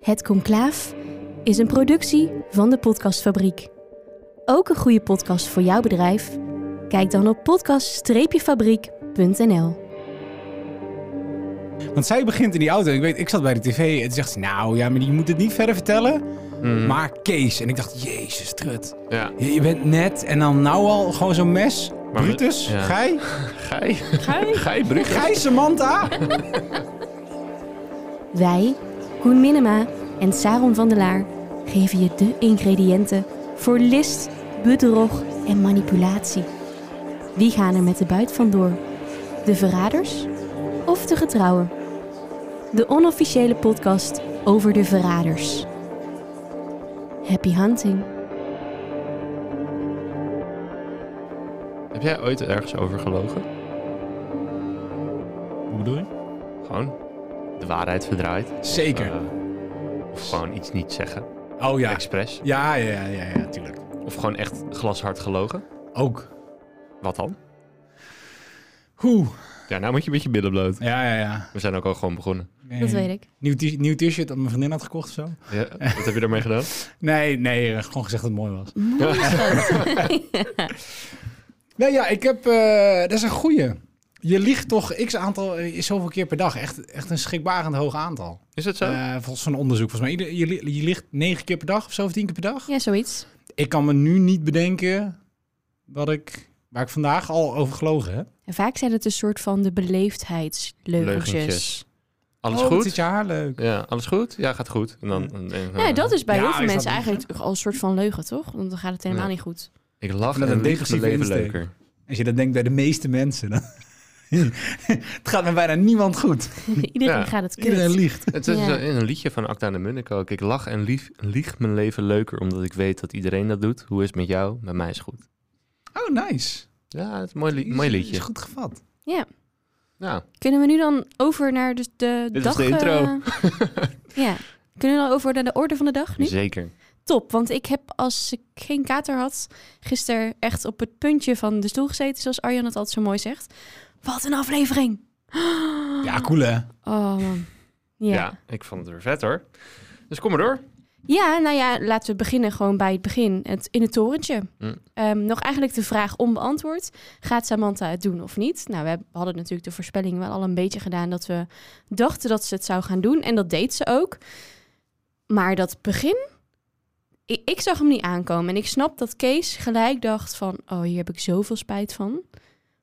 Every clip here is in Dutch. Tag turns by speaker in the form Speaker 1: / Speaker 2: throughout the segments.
Speaker 1: Het Conclaaf is een productie van de Podcastfabriek. Ook een goede podcast voor jouw bedrijf? Kijk dan op podcast-fabriek.nl.
Speaker 2: Want zij begint in die auto. en Ik weet, ik zat bij de tv en toen zegt ze, nou ja, maar je moet het niet verder vertellen. Maar Kees. En ik dacht, jezus, trut.
Speaker 3: Ja.
Speaker 2: Je, je bent net en dan nou al gewoon zo'n mes.
Speaker 3: Maar-
Speaker 2: Brutus,
Speaker 3: ja.
Speaker 2: Gij,
Speaker 3: Gij?
Speaker 4: Gij?
Speaker 3: Gij, Brugge?
Speaker 2: Gij Samantha.
Speaker 1: Wij, Koen Minema en Saron van der Laar, geven je de ingrediënten voor list, bedrog en manipulatie. Wie gaan er met de buit vandoor? De verraders of de getrouwen? De onofficiële podcast over de verraders. Happy hunting.
Speaker 3: Heb jij ooit ergens over gelogen?
Speaker 5: Hoe bedoel je?
Speaker 3: Gewoon de waarheid verdraaid?
Speaker 2: Zeker.
Speaker 3: Eh, of gewoon iets niet zeggen?
Speaker 2: oh ja.
Speaker 3: Expres?
Speaker 2: ja. Ja, ja, ja, tuurlijk.
Speaker 3: Of gewoon echt glashard gelogen?
Speaker 2: Ook.
Speaker 3: Wat dan?
Speaker 2: Hoe?
Speaker 3: Ja, nou moet je een beetje billen bloot.
Speaker 2: Ja, ja, ja.
Speaker 3: We zijn ook al gewoon begonnen.
Speaker 2: Nee.
Speaker 1: Dat weet ik.
Speaker 2: Nieuw, t- nieuw t-shirt dat mijn vriendin had gekocht of zo?
Speaker 3: Ja, wat heb je daarmee gedaan?
Speaker 2: Nee, nee, eh, gewoon gezegd dat het mooi was. Nee, ja, ik heb... eh, dat is een goeie. Je liegt toch x aantal, eh, zoveel keer per dag. Echt, echt een schrikbarend hoog aantal.
Speaker 3: Is het zo?
Speaker 2: Eh, volgens zo'n onderzoek, volgens mij. Ieder- Je, li- je ligt negen keer per dag of zo, of tien keer per dag.
Speaker 1: Ja, zoiets.
Speaker 2: Ik kan me nu niet bedenken wat ik, waar ik vandaag al over gelogen heb.
Speaker 1: En vaak zijn het een soort van de beleefdheidsleugeltjes.
Speaker 3: Leugentjes. Alles
Speaker 2: Oh, wat
Speaker 3: goed?
Speaker 2: zit je haar leuk.
Speaker 3: Ja, alles goed? Ja, gaat goed. En dan, en- en-
Speaker 1: Nou, dat is bij
Speaker 2: Ja,
Speaker 1: heel
Speaker 2: is
Speaker 1: veel
Speaker 2: dat
Speaker 1: mensen
Speaker 2: niet
Speaker 1: eigenlijk al een soort van leugen, toch? Want dan gaat het helemaal
Speaker 3: Ja.
Speaker 1: niet goed.
Speaker 3: Ik lach
Speaker 2: Met
Speaker 3: en
Speaker 2: een
Speaker 3: lieg mijn
Speaker 2: defensieve
Speaker 3: leven
Speaker 2: insteek.
Speaker 3: leuker.
Speaker 2: Als je dat denkt bij de meeste mensen, dan... het gaat met bijna niemand goed.
Speaker 1: Iedereen
Speaker 3: Ja.
Speaker 1: gaat het kut.
Speaker 2: Iedereen liegt.
Speaker 3: Het is
Speaker 1: Ja.
Speaker 3: zo- in een liedje van Acta en de Munnik ook. Ik lach en lief, lieg mijn leven leuker omdat ik weet dat iedereen dat doet. Hoe is het met jou? Met mij is het goed.
Speaker 2: Oh, nice.
Speaker 3: Ja, het is een mooi, li-
Speaker 2: Is-
Speaker 3: mooi
Speaker 2: Is
Speaker 3: liedje.
Speaker 2: goed gevat.
Speaker 3: Ja,
Speaker 1: Kunnen we nu dan over naar dus de
Speaker 3: Dit was
Speaker 1: dag...
Speaker 3: de intro.
Speaker 1: eh, ja. Kunnen we dan over naar de orde van de dag nu?
Speaker 3: zeker.
Speaker 1: Top, want ik heb als ik geen kater had... gisteren echt op het puntje van de stoel gezeten... zoals Arjan het altijd zo mooi zegt. Wat een aflevering!
Speaker 2: Ja, cool hè?
Speaker 1: Oh man.
Speaker 3: Ja.
Speaker 1: Ja. ja.
Speaker 3: ik vond het weer vet hoor. Dus kom maar door.
Speaker 1: nou ja, laten we beginnen gewoon bij het begin. Het, in het torentje.
Speaker 3: Hm.
Speaker 1: Ehm, nog eigenlijk de vraag onbeantwoord. Gaat Samantha het doen of niet? Nou, we heb- hadden natuurlijk de voorspelling wel al een beetje gedaan... dat we dachten dat ze het zou gaan doen. En dat deed ze ook. Maar dat begin... Ik, ik zag hem niet aankomen. En ik snap dat Kees gelijk dacht van... oh, hier heb ik zoveel spijt van.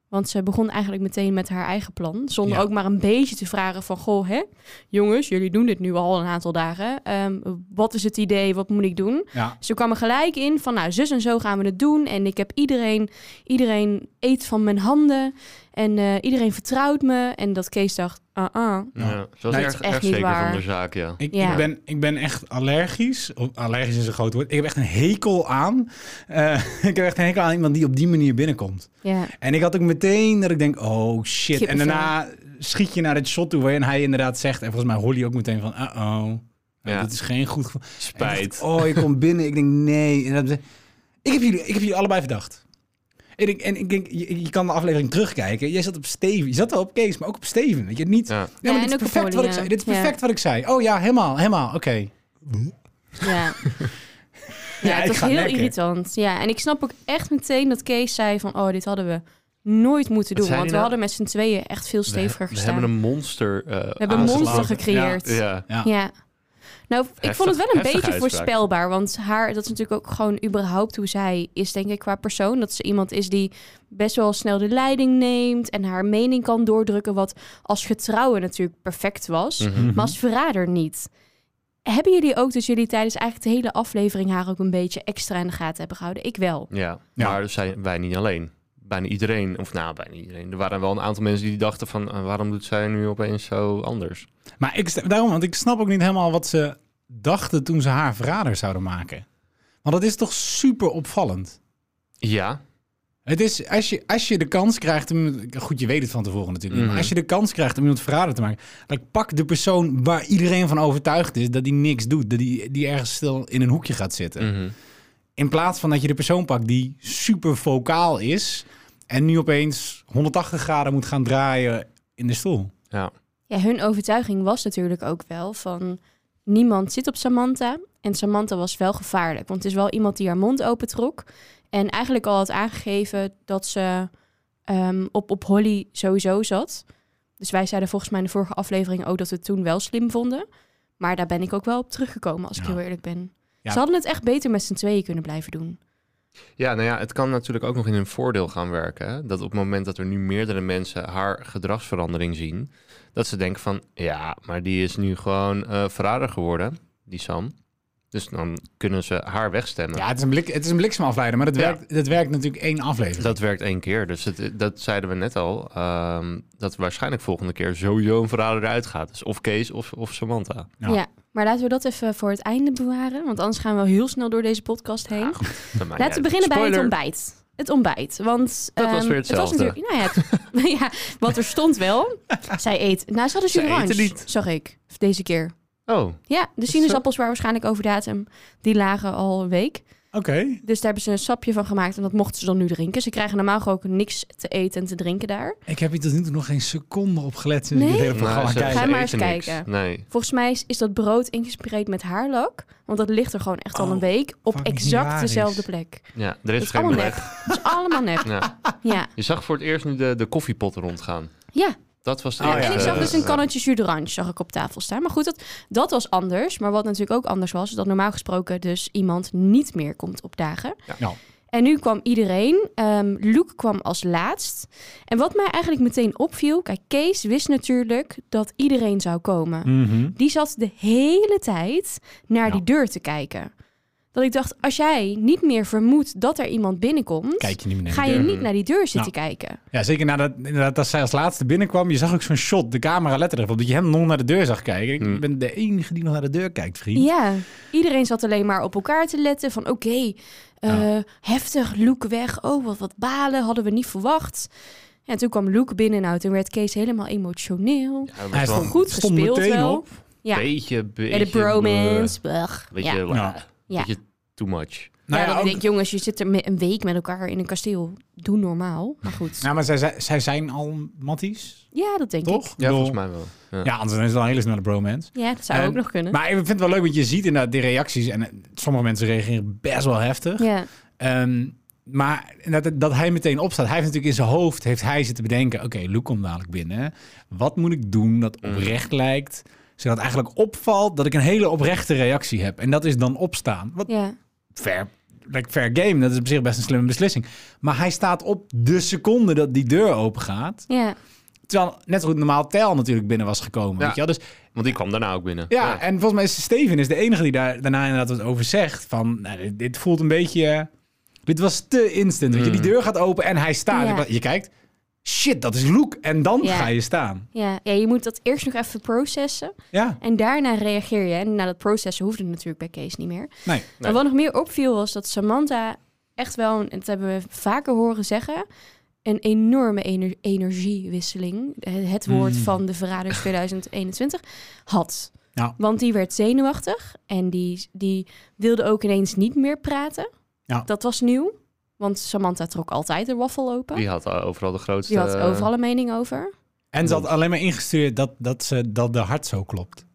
Speaker 1: Want ze begon eigenlijk meteen met haar eigen plan. Zonder
Speaker 2: Ja.
Speaker 1: ook maar een beetje te vragen van... goh, hè? Jongens, jullie doen dit nu al een aantal dagen. Ehm, wat is het idee? Wat moet ik doen?
Speaker 2: Ja.
Speaker 1: Ze kwam er gelijk in van, nou, zus en zo gaan we het doen. En ik heb iedereen, iedereen eet van mijn handen. En eh, iedereen vertrouwt me. En dat Kees dacht, ah, ah.
Speaker 2: Ja.
Speaker 3: Ja. Ze was
Speaker 2: Nee, het
Speaker 3: erg,
Speaker 1: is echt
Speaker 3: erg
Speaker 1: niet
Speaker 3: zeker
Speaker 1: waar.
Speaker 3: van de zaak, ja.
Speaker 2: Ik,
Speaker 1: Ja.
Speaker 2: ik, ben, ik ben echt allergisch. Of, allergisch is een groot woord. Ik heb echt een hekel aan. eh, ik heb echt een hekel aan iemand die op die manier binnenkomt.
Speaker 1: Ja,
Speaker 2: En ik had ook meteen dat ik denk, oh shit. En
Speaker 1: Kippenvel.
Speaker 2: daarna schiet je naar het shot toe waarin hij inderdaad zegt. En volgens mij Holly ook meteen van, uh-oh. Nou,
Speaker 3: Ja.
Speaker 2: Dit is geen goed... gevo- En ik dacht,
Speaker 3: Spijt.
Speaker 2: oh, ik kom binnen. Ik denk, nee. En dat- ik, heb jullie, ik heb jullie allebei verdacht. En ik, en ik denk, je, je kan de aflevering terugkijken. Jij zat op Steven. Je zat wel op Kees, maar ook op Steven. Weet je, niet...
Speaker 3: Ja.
Speaker 2: Ja, maar
Speaker 1: Ja, en
Speaker 2: dit
Speaker 1: ook
Speaker 2: is
Speaker 1: op
Speaker 2: perfect
Speaker 1: Holly,
Speaker 2: wat
Speaker 1: ja.
Speaker 2: ik zei. Dit is
Speaker 1: Ja.
Speaker 2: perfect wat ik zei. Oh ja, helemaal, helemaal. Oké.
Speaker 1: ja.
Speaker 2: Ja,
Speaker 1: ja, het
Speaker 2: ik
Speaker 1: was
Speaker 2: ga
Speaker 1: heel
Speaker 2: lekker.
Speaker 1: irritant. Ja, en ik snap ook echt meteen dat Kees zei van, oh, dit hadden we nooit moeten doen.
Speaker 3: zei
Speaker 1: Want
Speaker 3: hij
Speaker 1: we hadden
Speaker 3: nou?
Speaker 1: met z'n tweeën echt veel
Speaker 3: We,
Speaker 1: steviger
Speaker 3: we
Speaker 1: gestaan.
Speaker 3: hebben een monster eh
Speaker 1: we hebben een monster
Speaker 2: aangeslagen.
Speaker 1: gecreëerd.
Speaker 3: Ja.
Speaker 1: Ja. Nou, ik
Speaker 3: Heftig-
Speaker 1: vond het wel een
Speaker 3: heftige
Speaker 1: beetje
Speaker 3: uitspraak.
Speaker 1: voorspelbaar. Want haar, dat is natuurlijk ook gewoon überhaupt hoe zij is, denk ik, qua persoon. Dat ze iemand is die best wel snel de leiding neemt en haar mening kan doordrukken. Wat als getrouwen natuurlijk perfect was,
Speaker 3: Mhm.
Speaker 1: maar als verrader niet. Hebben jullie ook, dus jullie tijdens eigenlijk de hele aflevering haar ook een beetje extra in de gaten hebben gehouden? Ik wel.
Speaker 3: Ja,
Speaker 2: Ja.
Speaker 3: maar zijn wij niet alleen. Bijna iedereen, of nou, bijna iedereen. Er waren wel een aantal mensen die dachten van... eh, waarom doet zij nu opeens zo anders?
Speaker 2: Maar ik, sta- daarom, want ik snap ook niet helemaal wat ze dachten toen ze haar verrader zouden maken. Want dat is toch super opvallend.
Speaker 3: Ja,
Speaker 2: Het is, als je, als je de kans krijgt, om, goed, je weet het van tevoren natuurlijk, niet, maar
Speaker 3: Mhm.
Speaker 2: als je de kans krijgt om iemand verrader te maken, dan pak de persoon waar iedereen van overtuigd is dat die niks doet, dat die, die ergens stil in een hoekje gaat zitten.
Speaker 1: Mm.
Speaker 3: mhm.
Speaker 2: In plaats van dat je de persoon pakt die super vocaal is en nu opeens 180 graden moet gaan draaien in de stoel.
Speaker 3: ja.
Speaker 1: Ja, hun overtuiging was natuurlijk ook wel van... niemand zit op Samantha. En Samantha was wel gevaarlijk, want het is wel iemand die haar mond opentrok. En eigenlijk al had aangegeven dat ze ehm, op, op Holly sowieso zat. Dus wij zeiden volgens mij in de vorige aflevering ook dat we het toen wel slim vonden. Maar daar ben ik ook wel op teruggekomen, als ik
Speaker 2: Ja.
Speaker 1: heel eerlijk ben.
Speaker 2: Ja.
Speaker 1: Ze hadden het echt beter met z'n tweeën kunnen blijven doen.
Speaker 3: Ja, nou ja, het kan natuurlijk ook nog in hun voordeel gaan werken. Hè? Dat op het moment dat er nu meerdere mensen haar gedragsverandering zien, dat ze denken van, ja, maar die is nu gewoon eh verrader geworden, die Sam. Dus dan kunnen ze haar wegstemmen.
Speaker 2: Ja, het is een, blik, het is een bliksemafleider, maar dat,
Speaker 3: Ja.
Speaker 2: werkt, dat werkt natuurlijk één aflevering.
Speaker 3: Dat werkt één keer. Dus het, dat zeiden we net al. ehm, dat waarschijnlijk volgende keer sowieso een verrader eruit gaat. Dus of Kees of, of Samantha.
Speaker 2: Ja.
Speaker 1: Ja. Maar laten we dat even voor het einde bewaren, want anders gaan we heel snel door deze podcast heen.
Speaker 3: Dat maakt niet
Speaker 1: Laten
Speaker 3: uit.
Speaker 1: we beginnen bij het
Speaker 3: Ah, Spoiler.
Speaker 1: ontbijt. Het ontbijt, want...
Speaker 3: Dat was
Speaker 1: ehm,
Speaker 3: weer
Speaker 1: Het
Speaker 3: hetzelfde.
Speaker 1: was natuurlijk, nou ja, het- ja, wat er stond wel. Zij eet... Nou, ze hadden
Speaker 3: Zij
Speaker 1: jus
Speaker 3: eten
Speaker 1: orange,
Speaker 3: niet.
Speaker 1: zag ik, deze keer.
Speaker 3: Oh,
Speaker 1: Ja, de
Speaker 3: zo?
Speaker 1: sinaasappels waren waarschijnlijk over datum. Die lagen al een week.
Speaker 2: Oké.
Speaker 1: Dus daar hebben ze een sapje van gemaakt en dat mochten ze dan nu drinken. Ze krijgen normaal ook niks te eten en te drinken daar.
Speaker 2: Ik heb hier tot nu toe nog geen seconde op gelet sinds ik
Speaker 1: Nee?
Speaker 2: dit hele programma
Speaker 3: nou, ze-
Speaker 2: kijk.
Speaker 3: ze
Speaker 1: Ga maar
Speaker 3: eten
Speaker 1: eens
Speaker 3: niks.
Speaker 1: kijken.
Speaker 3: Nee.
Speaker 1: Volgens mij is, is dat brood ingespreid met haarlak. Want dat ligt er gewoon echt al
Speaker 2: Oh,
Speaker 1: een week op
Speaker 2: fucking
Speaker 1: exact
Speaker 2: hilarisch.
Speaker 1: dezelfde plek.
Speaker 3: Ja, er
Speaker 1: Dat
Speaker 3: is
Speaker 1: is
Speaker 3: geen
Speaker 1: allemaal
Speaker 3: beleg.
Speaker 1: nep. Dat is allemaal nep.
Speaker 3: Ja.
Speaker 1: Ja.
Speaker 3: Je zag voor het eerst nu de, de koffiepot rondgaan.
Speaker 1: Ja.
Speaker 3: Dat was de
Speaker 2: Oh,
Speaker 1: ja,
Speaker 3: eerste,
Speaker 1: en ik zag dus
Speaker 3: eh,
Speaker 1: een kannetje jus d'orange zag ik op tafel staan. Maar goed, dat, dat was anders. Maar wat natuurlijk ook anders was, is dat normaal gesproken dus iemand niet meer komt opdagen.
Speaker 3: Ja.
Speaker 2: Ja.
Speaker 1: En nu kwam iedereen. Ehm Luke kwam als laatst. En wat mij eigenlijk meteen opviel, kijk, Kees wist natuurlijk dat iedereen zou komen.
Speaker 2: Mhm.
Speaker 1: Die zat de hele tijd naar
Speaker 2: Ja.
Speaker 1: die deur te kijken. Dat ik dacht, als jij niet meer vermoedt dat er iemand binnenkomt,
Speaker 2: Kijk je niet meer naar
Speaker 1: ga
Speaker 2: die
Speaker 1: je
Speaker 2: deur.
Speaker 1: niet naar die deur zitten kijken.
Speaker 2: Ja, zeker nadat, inderdaad, dat zij als laatste binnenkwam. Je zag ook zo'n shot, de camera letterlijk op, dat je hem nog naar de deur zag kijken. Ik
Speaker 3: Hmm.
Speaker 2: ben de enige die nog naar de deur kijkt, vriend.
Speaker 1: Ja, iedereen zat alleen maar op elkaar te letten. Van oké, eh, heftig, Luke weg. Oh, wat, wat balen, hadden we niet verwacht. En toen kwam Luke binnen. Nou, toen werd Kees helemaal emotioneel.
Speaker 3: ja, het
Speaker 2: Hij
Speaker 3: was wel
Speaker 2: stond-
Speaker 3: een
Speaker 1: Goed
Speaker 2: stond
Speaker 1: gespeeld
Speaker 2: meteen
Speaker 1: wel.
Speaker 2: op.
Speaker 1: ja.
Speaker 3: beetje,
Speaker 1: Ja,
Speaker 3: beetje...
Speaker 1: de bromance. blech.
Speaker 3: eh, Beetje,
Speaker 1: ja.
Speaker 3: ja.
Speaker 2: Ja.
Speaker 1: Ja.
Speaker 3: beetje too much.
Speaker 1: Nou,
Speaker 2: ja,
Speaker 1: ja, dat
Speaker 2: ook-
Speaker 1: ik denk, jongens, je zit er me- een week met elkaar in een kasteel. Doe normaal. Maar goed. Ja,
Speaker 2: Ja, maar zij, zij, zij zijn al matties,
Speaker 1: dat denk
Speaker 2: toch?
Speaker 1: ik.
Speaker 3: Ja,
Speaker 2: Ik bedoel-
Speaker 3: volgens mij wel. Ja.
Speaker 2: Ja, anders is het al een hele snelle bromance.
Speaker 1: Ja, dat zou
Speaker 2: En-
Speaker 1: ook nog kunnen.
Speaker 2: Maar ik vind het wel leuk, want je ziet inderdaad die reacties. En eh, sommige mensen reageren best wel heftig.
Speaker 1: ja.
Speaker 2: Ehm, maar dat, dat hij meteen opstaat. Hij heeft natuurlijk in zijn hoofd heeft hij zitten bedenken... oké, Luke komt dadelijk binnen. Wat moet ik doen dat
Speaker 3: Mm.
Speaker 2: oprecht lijkt... zodat eigenlijk opvalt dat ik een hele oprechte reactie heb. En dat is dan opstaan. Wat
Speaker 1: ja.
Speaker 2: fair, like fair game. Dat is op zich best een slimme beslissing. Maar hij staat op de seconde dat die deur open gaat.
Speaker 1: Ja.
Speaker 2: Terwijl net zo goed normaal Tel natuurlijk binnen was gekomen.
Speaker 3: Ja.
Speaker 2: Weet je wel? Dus
Speaker 3: Want die kwam daarna ook binnen.
Speaker 2: ja, en volgens mij is Steven is de enige die daar daarna inderdaad wat over zegt. Van, nou, dit, dit voelt een beetje... eh, Dit was te instant. Weet je,
Speaker 3: Mm.
Speaker 2: die deur gaat open en hij staat.
Speaker 1: Ja.
Speaker 2: Je kijkt, shit, dat is Luke. En dan
Speaker 1: Ja.
Speaker 2: ga je staan.
Speaker 1: Ja. ja, je moet dat eerst nog even processen.
Speaker 2: Ja,
Speaker 1: En daarna reageer je. En na dat processen hoefde het natuurlijk bij Kees niet meer.
Speaker 2: nee.
Speaker 1: Maar wat nog meer opviel was dat Samantha echt wel, en dat hebben we vaker horen zeggen, een enorme ener- energiewisseling, het het woord
Speaker 2: Mm.
Speaker 1: van de verraders 2021, had.
Speaker 2: Ja.
Speaker 1: Want die werd zenuwachtig en die, die wilde ook ineens niet meer praten.
Speaker 2: Ja.
Speaker 1: Dat was nieuw, want Samantha trok altijd de waffel open.
Speaker 3: Die had eh, overal de grootste...
Speaker 1: Die had overal een mening over.
Speaker 2: En ze had alleen maar ingestuurd dat, dat, ze, dat de hart zo klopt.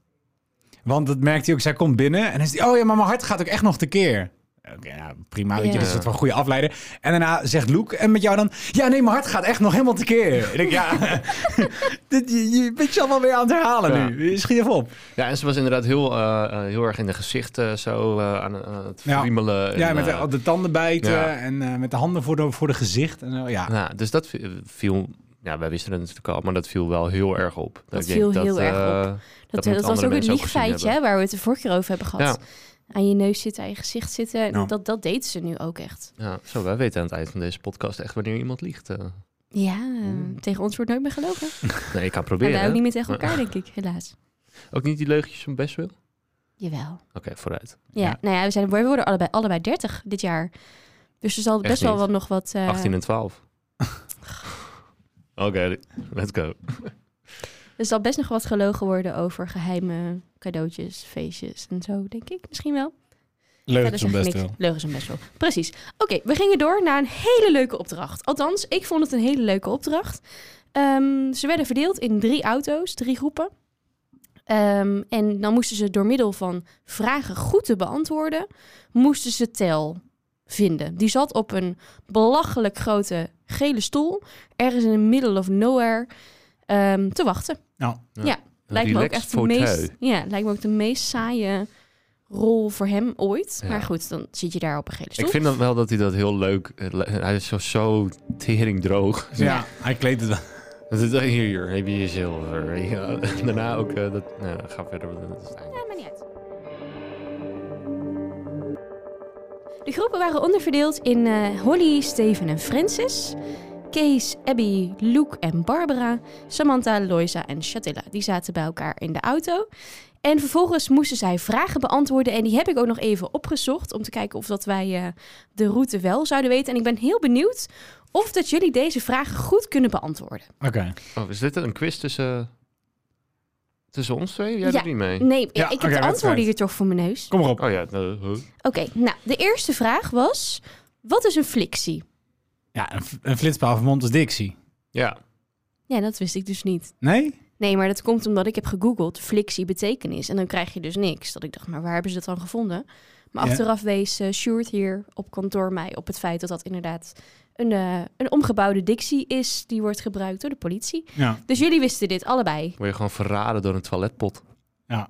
Speaker 2: Want dat merkte hij ook. Zij komt binnen en dan is die, oh ja, maar mijn hart gaat ook echt nog tekeer. Oké, nou, prima, weet je,
Speaker 1: Ja.
Speaker 2: dat is het wel een goede afleider. En daarna zegt Luke, en met jou dan... Ja, nee, mijn hart gaat echt nog helemaal tekeer. Ik denk, ja, dit, je, je bent je allemaal weer aan het herhalen
Speaker 3: Ja.
Speaker 2: nu. Schiet even op.
Speaker 3: Ja, en ze was inderdaad heel, eh, eh, heel erg in de gezichten zo eh, aan, aan het
Speaker 2: Ja.
Speaker 3: friemelen. en,
Speaker 2: Ja, met
Speaker 3: eh,
Speaker 2: de, de tanden bijten
Speaker 3: ja.
Speaker 2: en eh, met de handen voor de, voor de gezicht. En, zo, ja.
Speaker 3: Ja, dus dat vi- viel... Ja, wij wisten het natuurlijk al, maar dat viel wel heel erg op. Dat, ik
Speaker 1: viel
Speaker 3: denk
Speaker 1: heel erg op.
Speaker 3: eh,
Speaker 1: Dat,
Speaker 3: moeten
Speaker 1: dat was
Speaker 3: andere
Speaker 1: ook het
Speaker 3: mensen ook gezien
Speaker 1: liegfeitje hè, waar we het de vorige keer over hebben gehad. Aan je neus zitten, aan je gezicht zitten. En
Speaker 2: Ja.
Speaker 1: Dat, dat deed ze nu ook echt.
Speaker 3: ja, zo, wij weten aan het eind van deze podcast echt wanneer iemand liegt. eh.
Speaker 1: Ja, tegen ons wordt nooit meer gelogen.
Speaker 3: Nee, ik kan
Speaker 1: Maar
Speaker 3: proberen.
Speaker 1: wij ook
Speaker 3: Hmm. hè.
Speaker 1: niet meer tegen elkaar, denk ik, helaas.
Speaker 3: Ook niet die leugentjes van Bestwil? Oké,
Speaker 1: Jawel.
Speaker 3: vooruit.
Speaker 1: Ja,
Speaker 2: Ja.
Speaker 1: nou ja, we, zijn, we worden allebei, allebei 30 dit jaar. Dus er zal
Speaker 3: Echt
Speaker 1: best wel
Speaker 3: niet.
Speaker 1: wat nog wat... eh,
Speaker 3: 18 en 12. Oké, let's go.
Speaker 1: er zal best nog wat gelogen worden over geheime cadeautjes, feestjes en zo, denk ik. Misschien wel.
Speaker 2: Leuk,
Speaker 1: Verder zeg ik niks. Leugens om best wel. Precies. Oké, we gingen door naar een hele leuke opdracht. Althans, ik vond het een hele leuke opdracht. Ehm, ze werden verdeeld in drie auto's, drie groepen. Ehm, en dan moesten ze door middel van vragen goed te beantwoorden, moesten ze Tel vinden. Die zat op een belachelijk grote gele stoel, ergens in the middle of nowhere, ehm, te wachten.
Speaker 2: Nou,
Speaker 1: Lijkt me ook
Speaker 3: Relaxed
Speaker 1: echt de
Speaker 3: fauteuil.
Speaker 1: meest, ja, lijkt me ook de meest saaie rol voor hem ooit.
Speaker 3: Ja.
Speaker 1: Maar goed, dan zit je daar op een gele stoel.
Speaker 3: Ik vind dan wel dat hij dat heel leuk... eh, le- Hij is zo, zo tering droog.
Speaker 2: ja. hij kleedt het wel.
Speaker 3: Dat is, eh, hier, hier, heb je je zilver. Ja, daarna ook... eh, dat, nou, dat gaat verder. want Dat is het einde.
Speaker 1: Ja, maar niet uit. De groepen waren onderverdeeld in eh, Holly, Steven en Francis. Kees, Abby, Luke en Barbara. Samantha, Loisa en Shatilla. Die zaten bij elkaar in de auto. En vervolgens moesten zij vragen beantwoorden. En die heb ik ook nog even opgezocht. Om te kijken of dat wij eh, de route wel zouden weten. En ik ben heel benieuwd of dat jullie deze vragen goed kunnen beantwoorden.
Speaker 2: Oké.
Speaker 3: Oh, is dit een quiz tussen, tussen ons twee? Jij
Speaker 1: Ja.
Speaker 3: doet niet mee.
Speaker 1: Nee,
Speaker 2: Ja,
Speaker 1: ik heb de
Speaker 2: oké, wedstrijd.
Speaker 1: antwoorden hier toch voor mijn neus.
Speaker 2: Kom maar op.
Speaker 3: Oh ja, nou, huh.
Speaker 1: Oké, nou, de eerste vraag was... Wat is een flictie?
Speaker 2: Ja, een, f- een flitspaal van Montes Dixie.
Speaker 3: ja.
Speaker 1: Ja, dat wist ik dus niet.
Speaker 2: Nee?
Speaker 1: Nee, maar dat komt omdat ik heb gegoogeld flictie betekenis. En dan krijg je dus niks. Dat ik dacht, maar waar hebben ze dat dan gevonden? Maar
Speaker 2: Ja.
Speaker 1: achteraf wees eh Sjoerd hier op kantoor mij op het feit dat dat inderdaad een, eh, een omgebouwde dictie is. Die wordt gebruikt door de politie.
Speaker 2: Ja.
Speaker 1: Dus jullie wisten dit allebei.
Speaker 3: Word je gewoon verraden door een toiletpot.
Speaker 2: Ja.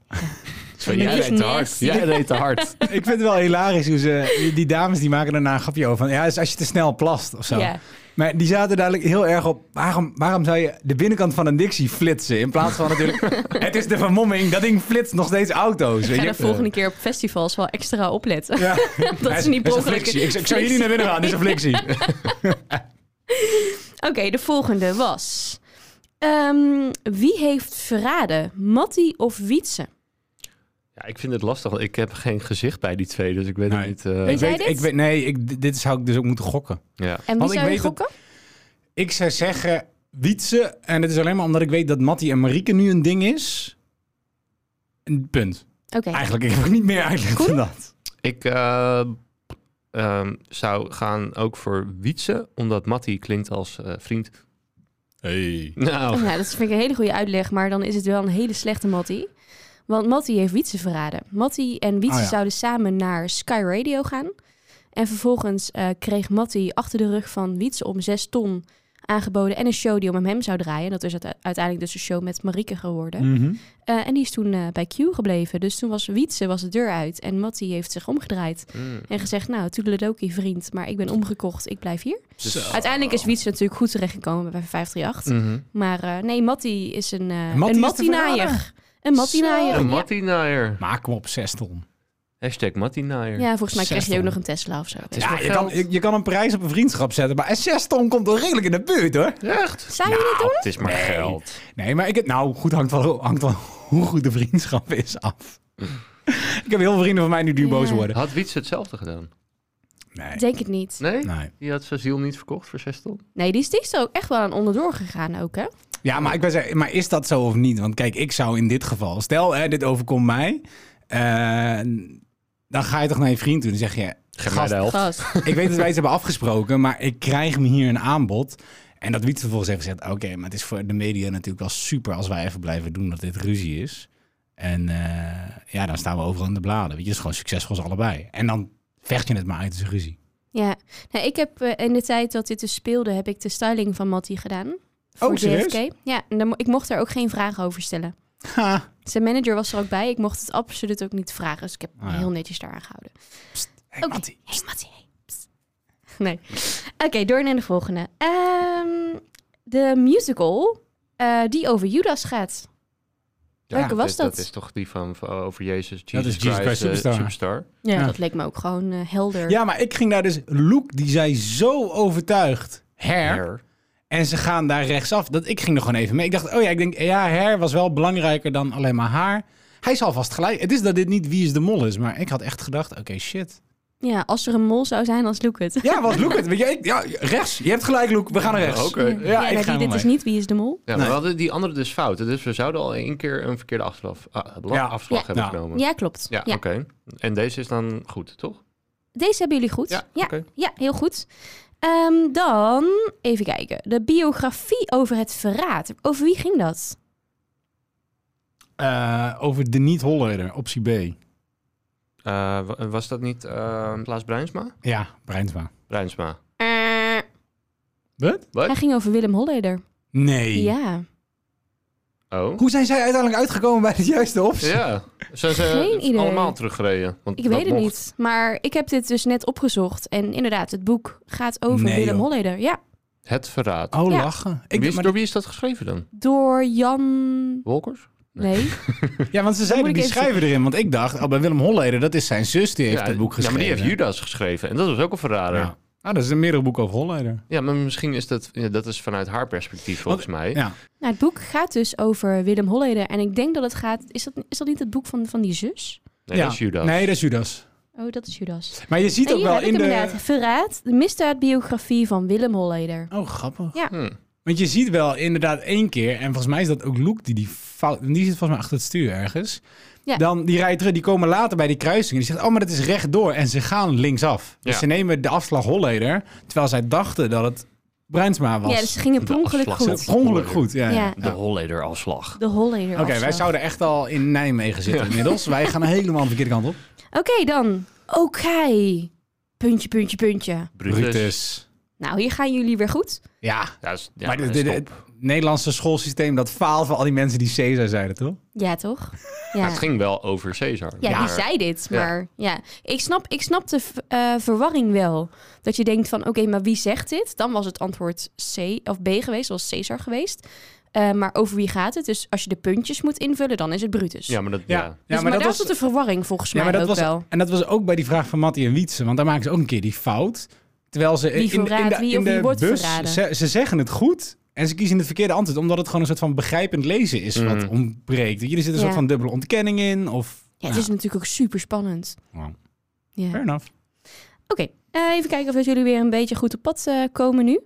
Speaker 3: Zo,
Speaker 1: Dat
Speaker 3: jij
Speaker 1: is
Speaker 3: deed te hard.
Speaker 1: nasty.
Speaker 3: Jij deed te hard.
Speaker 2: ik vind het wel hilarisch hoe ze... Die, die dames die maken daarna een grapje over van... Ja, is als je te snel plast of zo.
Speaker 1: Ja.
Speaker 2: Maar die zaten duidelijk heel erg op... Waarom, waarom zou je de binnenkant van een Dixie flitsen? In plaats van natuurlijk... het is de vermomming, dat ding flitst nog steeds auto's.
Speaker 1: Ik
Speaker 2: Weet
Speaker 1: ga
Speaker 2: je?
Speaker 1: de volgende keer op festivals wel extra opletten.
Speaker 2: Ja.
Speaker 1: dat ze niet per
Speaker 2: is
Speaker 1: ongeluk-
Speaker 2: een flixie. Ik, ik zou jullie naar binnen gaan, dit is een flixie.
Speaker 1: Oké, de volgende was... ehm, wie heeft verraden? Mattie of Wietse?
Speaker 3: Ja, ik vind het lastig, want ik heb geen gezicht bij die twee, dus ik weet
Speaker 2: Nee.
Speaker 3: het niet. eh,
Speaker 1: Weet jij dit?
Speaker 2: Ik weet, nee, ik, dit- dit zou ik dus ook moeten gokken.
Speaker 3: ja.
Speaker 1: En wie
Speaker 2: Want ik
Speaker 1: zou je
Speaker 2: weet dat-
Speaker 1: gokken?
Speaker 2: Ik zou zeggen Wietse. En dat is alleen maar omdat ik weet dat Mattie en Marieke nu een ding is. Een punt.
Speaker 1: Oké.
Speaker 2: Eigenlijk, ik heb niet meer eigenlijk
Speaker 1: Koen?
Speaker 2: dan dat.
Speaker 3: Ik eh, ehm, zou gaan ook voor Wietse, omdat Matty klinkt als eh, vriend.
Speaker 2: Hey.
Speaker 3: Nou,
Speaker 1: Ja, dat vind ik een hele goede uitleg, maar dan is het wel een hele slechte Mattie. Want Mattie heeft Wietse verraden. Mattie en Wietse
Speaker 2: Oh ja.
Speaker 1: zouden samen naar Sky Radio gaan. En vervolgens eh, kreeg Mattie achter de rug van Wietse om zes ton aangeboden... en een show die om hem zou draaien. En dat is uite- uiteindelijk dus een show met Marieke geworden.
Speaker 2: Mm. Mhm.
Speaker 1: Eh, en die is toen eh, bij Q gebleven. Dus toen was Wietse was de deur uit en Mattie heeft zich omgedraaid...
Speaker 3: mm,
Speaker 1: en gezegd, nou, toedeledokie vriend, maar ik ben omgekocht, ik blijf hier.
Speaker 3: dus-
Speaker 2: Oh.
Speaker 1: Uiteindelijk is Wietse natuurlijk goed terechtgekomen bij
Speaker 2: Mm.
Speaker 1: 538...
Speaker 3: Mhm.
Speaker 1: Maar eh, nee, Mattie is een, eh
Speaker 2: Mattie
Speaker 1: een
Speaker 2: is te
Speaker 1: Mattie-naaier. Een Mattie-naaier.
Speaker 3: Een
Speaker 1: ja.
Speaker 3: Matty-naaier.
Speaker 2: Maar kom op, zes ton.
Speaker 3: Hashtag Matty-naaier.
Speaker 1: ja, volgens mij krijg je ook
Speaker 2: Zeston.
Speaker 1: nog een Tesla of zo.
Speaker 3: is
Speaker 2: Ja,
Speaker 3: wel
Speaker 2: je kan,
Speaker 3: geld.
Speaker 2: je, je kan een prijs op een vriendschap zetten, maar zes ton komt wel redelijk in de buurt hoor.
Speaker 3: Echt?
Speaker 1: Zou je dit doen?
Speaker 3: Het is maar
Speaker 2: Nee.
Speaker 3: geld.
Speaker 2: Nee, maar ik heb, nou goed, hangt wel, hangt wel hoe goed de vriendschap is af. ik heb heel veel vrienden van mij nu die
Speaker 1: Ja.
Speaker 2: boos worden.
Speaker 3: Had Wietse hetzelfde gedaan?
Speaker 2: Nee.
Speaker 1: Ik Denk het niet.
Speaker 3: Nee?
Speaker 2: nee.
Speaker 3: Die had zijn ziel niet verkocht voor zes ton?
Speaker 1: Nee, die is, die is er ook echt wel aan onderdoor gegaan ook, hè?
Speaker 2: Ja, maar, ik ben, zei- maar is dat zo of niet? Want kijk, ik zou in dit geval, stel hè, dit overkomt mij, eh, dan ga je toch naar je vriend toe en dan zeg je,
Speaker 3: Geef
Speaker 2: Gast.
Speaker 3: mij de helft.
Speaker 1: Gast.
Speaker 2: ik weet dat wij het hebben afgesproken, maar ik krijg me hier een aanbod. En dat Wietse vervolgens heeft gezegd, oké, maar het is voor de media natuurlijk wel super als wij even blijven doen dat dit ruzie is. En eh, ja, dan staan we overal in de bladen. Weet je, het is gewoon succesvol als allebei. En dan vecht je het maar uit als een ruzie.
Speaker 1: Ja, nou, ik heb eh, in de tijd dat dit dus speelde, heb ik de styling van Mattie gedaan. Voor
Speaker 2: Oh, serieus?
Speaker 1: JFK. Ja, en dan, mo- ik mocht daar ook geen vragen over stellen.
Speaker 2: Ha.
Speaker 1: Zijn manager was er ook bij. Ik mocht het absoluut ook niet vragen. Dus ik heb me
Speaker 2: Ah, ja.
Speaker 1: heel netjes daar aangehouden.
Speaker 2: Hey,
Speaker 1: Oké.
Speaker 2: Mattie.
Speaker 1: Hey, Mattie, hey. Psst. Nee. Oké, door naar de volgende. Ehm, de musical eh, die over Judas gaat.
Speaker 3: Ja,
Speaker 1: Welke was
Speaker 3: dit-
Speaker 1: dat?
Speaker 3: Dat is toch die van van over Jezus,
Speaker 2: Dat
Speaker 3: Jesus,
Speaker 2: is Jesus
Speaker 3: Christ,
Speaker 2: Christ Superstar.
Speaker 3: eh, Superstar.
Speaker 1: Ja.
Speaker 2: Ja.
Speaker 1: Dat leek me ook gewoon eh, helder.
Speaker 2: Ja, maar ik ging daar dus, Luke, die zei zo overtuigd, her.
Speaker 3: Her.
Speaker 2: En ze gaan daar rechtsaf. Dat, ik ging er gewoon even mee. Ik dacht, oh ja, ik denk, ja, her was wel belangrijker dan alleen maar haar. Hij zal vast gelijk. Het is dat dit niet Wie is de Mol is, maar ik had echt gedacht, oké, shit.
Speaker 1: Ja, als er een mol zou zijn, dan sloek het.
Speaker 2: Ja, wat Loek het? Weet je, ik- ja, rechts. Je hebt gelijk, Loek. We gaan naar rechts.
Speaker 3: Oké.
Speaker 1: Ja,
Speaker 3: Ja,
Speaker 2: ik ga
Speaker 1: nou, die-
Speaker 2: helemaal
Speaker 1: dit is
Speaker 2: mee.
Speaker 1: niet Wie is de Mol.
Speaker 3: maar
Speaker 2: Nee.
Speaker 3: we hadden die andere dus fout. Dus we zouden al één keer een verkeerde afslag, ah, bla-
Speaker 2: Ja.
Speaker 3: afslag
Speaker 1: Ja.
Speaker 3: hebben
Speaker 2: Ja.
Speaker 3: genomen. Ja,
Speaker 1: Ja, klopt. Ja,
Speaker 3: oké. En deze is dan goed, toch?
Speaker 1: Deze hebben jullie goed. Ja, ja,
Speaker 3: oké.
Speaker 1: heel goed. Ehm, dan even kijken. De biografie over het verraad. Over wie ging dat?
Speaker 2: Eh, over de niet-Hollander, optie B.
Speaker 3: Eh, wa- was dat niet eh Klaas Bruinsma?
Speaker 2: Ja, Breinsma.
Speaker 3: Bruinsma.
Speaker 1: Eh,
Speaker 2: Wat?
Speaker 1: hij ging over Willem Holleder.
Speaker 2: Nee.
Speaker 1: Ja.
Speaker 3: Oh.
Speaker 2: Hoe zijn zij uiteindelijk uitgekomen bij de juiste optie?
Speaker 3: Ja. Zijn ze
Speaker 1: Geen idee.
Speaker 3: allemaal teruggereden? Want
Speaker 1: Ik
Speaker 3: dat
Speaker 1: weet het
Speaker 3: mocht.
Speaker 1: niet. Maar ik heb dit dus net opgezocht. En inderdaad, het boek gaat over
Speaker 2: Nee,
Speaker 1: Willem
Speaker 2: joh.
Speaker 1: Holleder. Ja.
Speaker 3: Het verraad.
Speaker 2: Oh,
Speaker 1: Ja.
Speaker 2: lachen.
Speaker 3: Wie
Speaker 2: Ik,
Speaker 3: is,
Speaker 2: maar,
Speaker 3: door wie is dat geschreven dan?
Speaker 1: Door Jan...
Speaker 3: Wolkers?
Speaker 1: Nee.
Speaker 2: ja, want ze zeiden
Speaker 1: moet ik
Speaker 2: die
Speaker 1: even-
Speaker 2: schrijver erin. Want ik dacht, oh, bij Willem Holleder, dat is zijn zus, die heeft
Speaker 3: ja,
Speaker 2: het boek
Speaker 3: Ja,
Speaker 2: geschreven.
Speaker 3: maar die heeft Judas geschreven. En dat was ook een verrader.
Speaker 2: Ja.
Speaker 3: Ja,
Speaker 2: Ah, dat is een meerdere boek over Holleder.
Speaker 3: maar misschien is dat... ja, dat is vanuit haar perspectief volgens mij.
Speaker 2: Ja.
Speaker 1: Nou, het boek gaat dus over Willem Holleder. En ik denk dat het gaat... Is dat, is dat niet het boek van, van die zus?
Speaker 3: Nee,
Speaker 2: Ja.
Speaker 3: dat is Judas.
Speaker 2: Nee, dat is Judas.
Speaker 1: Oh, dat is Judas.
Speaker 2: Maar je ziet
Speaker 1: En
Speaker 2: ook
Speaker 1: hier
Speaker 2: wel
Speaker 1: heb ik
Speaker 2: in
Speaker 1: hem
Speaker 2: de...
Speaker 1: inderdaad. Verraad, de misdaadbiografie van Willem Holleder.
Speaker 2: Oh, grappig.
Speaker 3: Hm.
Speaker 2: Want je ziet wel inderdaad één keer, en volgens mij is dat ook Luke die die fout, die zit volgens mij achter het stuur ergens.
Speaker 1: Ja.
Speaker 2: Dan die rijdt terug, die komen later bij die kruising en die zegt, oh, maar dat is rechtdoor. En ze gaan linksaf. Dus
Speaker 3: Ja.
Speaker 2: ze nemen de afslag Holleder, terwijl zij dachten dat het Bruinsma was.
Speaker 1: Ja, dus ze gingen per
Speaker 3: De
Speaker 1: ongeluk
Speaker 3: afslag.
Speaker 1: goed.
Speaker 2: Per ongeluk goed, ja.
Speaker 1: Ja.
Speaker 2: ja.
Speaker 3: De Holleder-afslag.
Speaker 1: De Holleder.
Speaker 2: Oké, wij zouden echt al in Nijmegen zitten inmiddels. Wij gaan helemaal de verkeerde kant op.
Speaker 1: Oké, dan. Oké. Puntje, puntje, puntje. Nou, hier gaan jullie weer goed.
Speaker 2: Ja,
Speaker 3: Ja, is- ja,
Speaker 2: maar dit-
Speaker 3: en
Speaker 2: dit-
Speaker 3: stop.
Speaker 2: het Nederlandse schoolsysteem, dat faalt voor al die mensen die Caesar zeiden, toch?
Speaker 1: Ja, toch?
Speaker 3: Maar
Speaker 1: Ja,
Speaker 3: Het ging wel over Caesar.
Speaker 1: ja die
Speaker 3: maar-
Speaker 1: zei dit,
Speaker 3: Ja.
Speaker 1: maar ja. Ik, snap, ik snap de v- eh, verwarring wel. Dat je denkt van, oké, maar wie zegt dit? Dan was het antwoord C of B geweest, was Caesar geweest. Eh, maar over wie gaat het? Dus als je de puntjes moet invullen, dan is het Brutus.
Speaker 3: Ja, maar dat... Ja.
Speaker 1: Dus, maar, daar zat de verwarring volgens mij ook
Speaker 2: was,
Speaker 1: wel.
Speaker 2: En dat was ook bij die vraag van Mattie en Wietse. Want daar maken ze ook een keer die fout. Terwijl ze
Speaker 1: Wie
Speaker 2: in, in
Speaker 1: verraadt
Speaker 2: de,
Speaker 1: wie
Speaker 2: in
Speaker 1: of
Speaker 2: de
Speaker 1: wie wordt
Speaker 2: bus,
Speaker 1: verraden?
Speaker 2: Ze, ze zeggen het goed en ze kiezen het verkeerde antwoord. Omdat het gewoon een soort van begrijpend lezen is wat
Speaker 3: Mm.
Speaker 2: ontbreekt. Jullie zitten een soort
Speaker 1: Ja.
Speaker 2: van dubbele ontkenning in. Of,
Speaker 1: Ja, het is natuurlijk ook super spannend.
Speaker 2: Wow.
Speaker 1: Ja.
Speaker 2: Fair enough.
Speaker 1: Oké, eh, even kijken of jullie weer een beetje goed op pad eh, komen nu.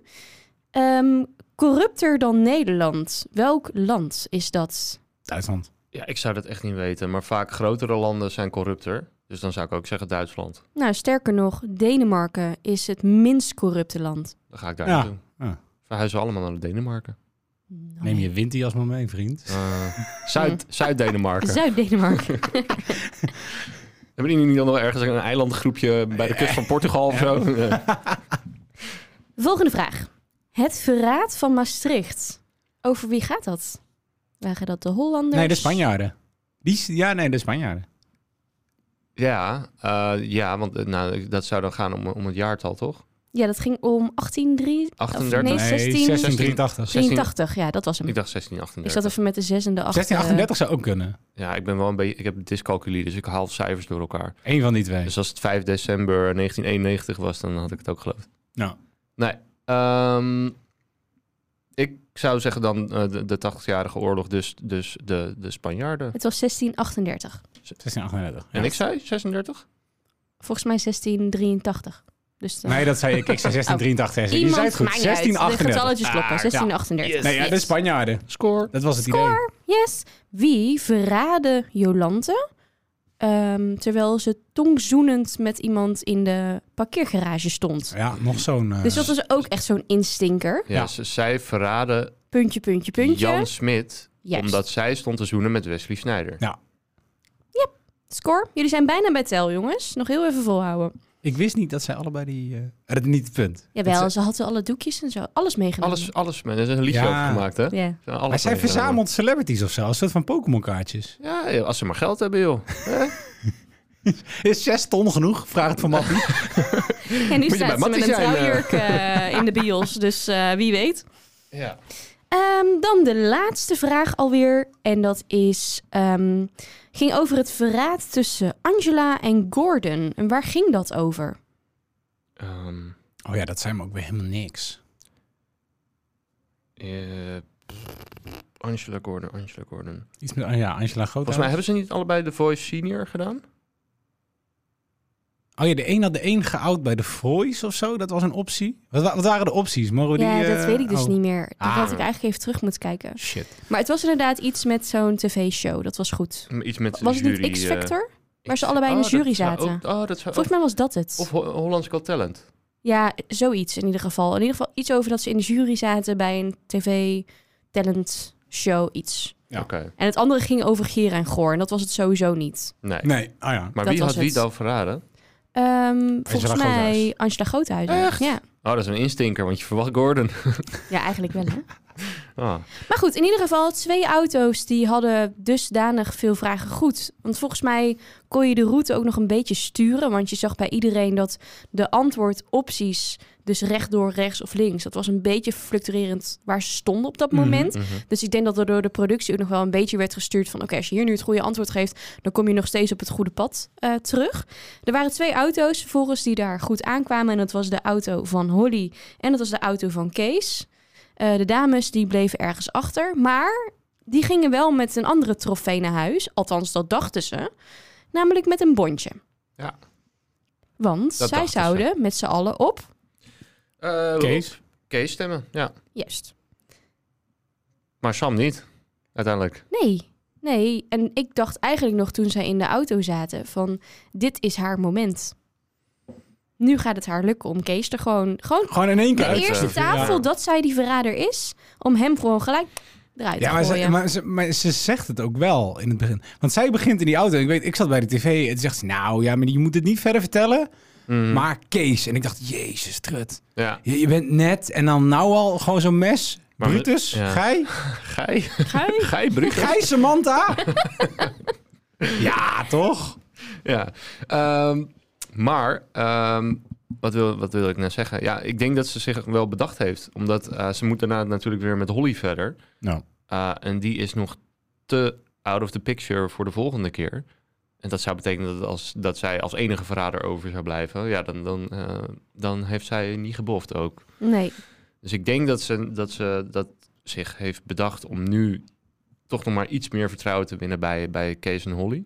Speaker 1: Ehm, corrupter dan Nederland. Welk land is dat?
Speaker 2: Duitsland.
Speaker 3: ja, ik zou dat echt niet weten. Maar vaak grotere landen zijn corrupter. Dus dan zou ik ook zeggen Duitsland.
Speaker 1: Nou, sterker nog, Denemarken is het minst corrupte land.
Speaker 3: Dan ga ik daar
Speaker 2: Ja.
Speaker 3: naartoe.
Speaker 2: Ja.
Speaker 3: Verhuizen we allemaal naar de Denemarken.
Speaker 2: Neem je windjas maar mee, vriend.
Speaker 3: Eh, Zuid- Zuid-Denemarken.
Speaker 1: Zuid-Denemarken.
Speaker 3: Hebben jullie niet dan nog ergens een eilandgroepje bij de kust van Portugal of zo? Ja.
Speaker 1: Volgende vraag. Het verraad van Maastricht. Over wie gaat dat? Waren dat de Hollanders?
Speaker 2: Nee, de Spanjaarden. Die, is- ja, nee, de Spanjaarden.
Speaker 3: Ja, eh, ja want eh, nou, dat zou dan gaan om, om het jaartal, toch?
Speaker 1: Ja, dat ging om 1883.
Speaker 3: 38?
Speaker 1: Nee, 16.
Speaker 2: 1683.
Speaker 1: 83, ja, dat was hem.
Speaker 3: Ik dacht
Speaker 1: Ik
Speaker 3: 1638.
Speaker 1: zat even met de zes en de acht. eh,
Speaker 2: 1638 zou ook kunnen.
Speaker 3: Ja, ik ben wel een beetje... Ik heb dyscalculie, dus ik haal cijfers door elkaar.
Speaker 2: Eén van die twee.
Speaker 3: Dus als het 5 december 1991 was, dan had ik het ook geloofd.
Speaker 2: Nou.
Speaker 3: Nee. ehm, ik zou zeggen dan eh, de, de 80-jarige oorlog, dus, dus de, de Spanjaarden.
Speaker 1: Het was 1638.
Speaker 2: 1638. ja.
Speaker 3: En ik zei 36?
Speaker 1: Volgens mij 1683. Dus dan...
Speaker 2: Nee, dat zei ik. Ik zei 1683. Je zei het goed.
Speaker 1: maakt niet uit.
Speaker 2: 1638.
Speaker 1: De getalletjes kloppen.
Speaker 2: Ah,
Speaker 1: 1638.
Speaker 2: Nee, ja, de
Speaker 1: Yes.
Speaker 2: Spanjaarden.
Speaker 3: Score.
Speaker 2: Dat was het
Speaker 1: Score. Yes. Wie verraadde Jolante ehm, terwijl ze tongzoenend met iemand in de parkeergarage stond?
Speaker 2: idee. Ja, nog zo'n... eh,
Speaker 1: Dus dat was ook echt zo'n instinker.
Speaker 3: Ja,
Speaker 2: Ja.
Speaker 3: ze- zij verraden
Speaker 1: Puntje, puntje, puntje.
Speaker 3: Jan Smit,
Speaker 1: Juist.
Speaker 3: omdat zij stond te zoenen met Wesley Snijder.
Speaker 1: Score. Jullie zijn bijna bij tel, jongens. Nog heel even volhouden.
Speaker 2: Ik wist niet dat zij allebei die... eh, dat is niet het punt. Dat
Speaker 1: Jawel,
Speaker 2: ze-
Speaker 1: ze had alle doekjes en zo. Alles meegenomen.
Speaker 3: Alles, alles, man. Er is een liedje
Speaker 2: Ja.
Speaker 3: over gemaakt, hè?
Speaker 1: Ja.
Speaker 3: Ze hebben alles
Speaker 2: Maar zij
Speaker 3: meegenomen.
Speaker 2: verzamelt celebrities of zo. Een soort van Pokémon kaartjes.
Speaker 3: Ja, joh, als ze maar geld hebben, joh.
Speaker 2: Is zes ton genoeg? Vraag het van Mattie.
Speaker 1: En nu
Speaker 3: je
Speaker 1: staat
Speaker 3: bij
Speaker 1: ze met
Speaker 3: Mattie
Speaker 1: een
Speaker 3: zijn, eh.
Speaker 1: trouwjurk eh, in de bios. Dus eh, wie weet.
Speaker 3: ja.
Speaker 1: Ehm, dan de laatste vraag alweer. En dat is, ehm, ging over het verraad tussen Angela en Gordon. En waar ging dat over?
Speaker 3: Ehm,
Speaker 2: Oh ja, dat zijn me ook weer helemaal niks.
Speaker 3: eh, Angela Gordon, Angela Gordon.
Speaker 2: Iets met... ah ja, Angela Groot.
Speaker 3: Volgens mij hebben ze niet allebei de Voice Senior gedaan?
Speaker 2: Oh ja, de een had de een geout bij de Voice of zo. Dat was een optie. Wat, wa- wat waren de opties? Mogen we die,
Speaker 1: ja, dat
Speaker 2: eh,
Speaker 1: weet ik dus
Speaker 2: oh,
Speaker 1: niet meer. Dat
Speaker 2: Ah.
Speaker 1: had ik eigenlijk even terug moeten kijken.
Speaker 2: Shit.
Speaker 1: Maar het was inderdaad iets met zo'n tv-show. Dat was goed.
Speaker 3: Iets met
Speaker 1: Was het
Speaker 3: jury,
Speaker 1: niet
Speaker 3: eh,
Speaker 1: X-Factor? Waar
Speaker 3: X-
Speaker 1: ze allebei in de
Speaker 3: Oh,
Speaker 1: jury
Speaker 3: dat zou
Speaker 1: zaten.
Speaker 3: ook- oh, dat zou
Speaker 1: Volgens mij was dat het.
Speaker 3: Of Ho- Hollands Got Talent.
Speaker 1: Ja, zoiets in ieder geval. In ieder geval iets over dat ze in de jury zaten bij een tv-talent show iets.
Speaker 2: Ja.
Speaker 3: Oké.
Speaker 1: En het andere ging over Gier en Goor. En dat was het sowieso niet.
Speaker 3: Nee.
Speaker 2: Nee, oh ja.
Speaker 3: Maar
Speaker 1: Dat
Speaker 3: wie
Speaker 1: was
Speaker 3: had wie
Speaker 1: het.
Speaker 3: dan verraden?
Speaker 1: Ehm, volgens mij
Speaker 2: Groothuis.
Speaker 1: Angela Groothuizen.
Speaker 3: Echt?
Speaker 1: Ja.
Speaker 3: Oh, dat is een instinker, want je verwacht Gordon.
Speaker 1: ja, eigenlijk wel hè.
Speaker 3: Ah,
Speaker 1: Maar goed, in ieder geval, twee auto's die hadden dusdanig veel vragen goed. Want volgens mij kon je de route ook nog een beetje sturen. Want je zag bij iedereen dat de antwoordopties, dus rechtdoor, rechts of links, dat was een beetje fluctuerend waar ze stonden op dat
Speaker 2: Mhm.
Speaker 1: moment.
Speaker 3: mhm.
Speaker 1: Dus ik denk dat er door de productie ook nog wel een beetje werd gestuurd van... oké, als je hier nu het goede antwoord geeft... dan kom je nog steeds op het goede pad eh, terug. Er waren twee auto's volgens die daar goed aankwamen... en dat was de auto van Holly en dat was de auto van Kees. Eh, de dames die bleven ergens achter, maar die gingen wel met een andere trofee naar huis. Althans, dat dachten ze. Namelijk met een bondje.
Speaker 3: Ja.
Speaker 1: Want zij
Speaker 3: Dat dachten ze.
Speaker 1: zouden met z'n allen op...
Speaker 3: Eh,
Speaker 2: Kees?
Speaker 3: Kees stemmen, ja.
Speaker 1: Juist.
Speaker 3: Maar Sam niet, uiteindelijk.
Speaker 1: Nee, nee. En ik dacht eigenlijk nog toen zij in de auto zaten van dit is haar moment. Nu gaat het haar lukken om Kees er gewoon... Gewoon
Speaker 2: Gewoon in één
Speaker 1: de
Speaker 2: keer uit.
Speaker 1: eerste
Speaker 3: ja.
Speaker 1: tafel dat zij die verrader is, om hem gewoon gelijk eruit
Speaker 2: Ja,
Speaker 1: te
Speaker 2: maar
Speaker 1: gooien.
Speaker 2: ze, maar, ze, maar ze zegt het ook wel in het begin. Want zij begint in die auto. Ik weet, ik zat bij de tv en zegt ze, nou ja, maar je moet het niet verder vertellen.
Speaker 3: Mhm.
Speaker 2: Maar Kees. En ik dacht, jezus, trut.
Speaker 3: Ja.
Speaker 2: Je, je bent net en dan nou al gewoon zo'n mes.
Speaker 3: Maar we-
Speaker 2: Brutus,
Speaker 3: ja.
Speaker 2: Gij,
Speaker 3: Gij,
Speaker 1: Gij?
Speaker 3: Gij Brugge.
Speaker 2: Gij Samantha. ja, toch?
Speaker 3: Ja. Ehm, maar, ehm, wat, wil, wat wil ik nou zeggen? Ja, ik denk dat ze zich wel bedacht heeft. Omdat eh, ze moet daarna natuurlijk weer met Holly verder.
Speaker 2: Nou,
Speaker 3: Eh, en die is nog te out of the picture voor de volgende keer. En dat zou betekenen dat, als, dat zij als enige verrader over zou blijven. Ja, dan, dan, eh, dan heeft zij niet geboft ook.
Speaker 1: Nee,
Speaker 3: Dus ik denk dat ze, dat ze dat zich heeft bedacht om nu toch nog maar iets meer vertrouwen te winnen bij, bij Kees en Holly.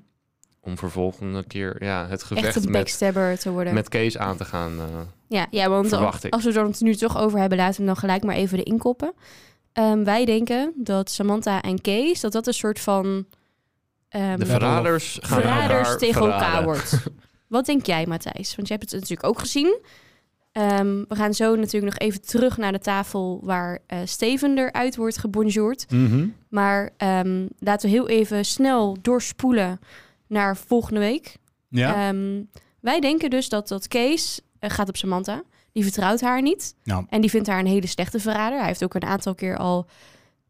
Speaker 3: Om vervolgende keer ja, het
Speaker 1: echt
Speaker 3: gevecht
Speaker 1: een
Speaker 3: met,
Speaker 1: backstabber te worden.
Speaker 3: met Kees aan te gaan. eh.
Speaker 1: Ja, ja want
Speaker 3: Verwacht ik.
Speaker 1: als we er het nu toch over hebben, laten we hem dan gelijk maar even erin koppen. Ehm, wij denken dat Samantha en Kees, dat dat een soort van... ehm,
Speaker 3: de verraders gaan
Speaker 1: verraders
Speaker 3: elkaar
Speaker 1: tegen elkaar
Speaker 3: verraden.
Speaker 1: wordt. Wat denk jij, Matthijs? Want jij hebt het natuurlijk ook gezien. Ehm, we gaan zo natuurlijk nog even terug naar de tafel waar eh, Steven eruit wordt gebonjourd.
Speaker 2: Mhm.
Speaker 1: Maar ehm, laten we heel even snel doorspoelen naar volgende week.
Speaker 2: ja.
Speaker 1: Ehm, wij denken dus dat, dat Kees eh, gaat op Samantha. Die vertrouwt haar niet.
Speaker 2: Ja.
Speaker 1: En die vindt haar een hele slechte verrader. Hij heeft ook een aantal keer al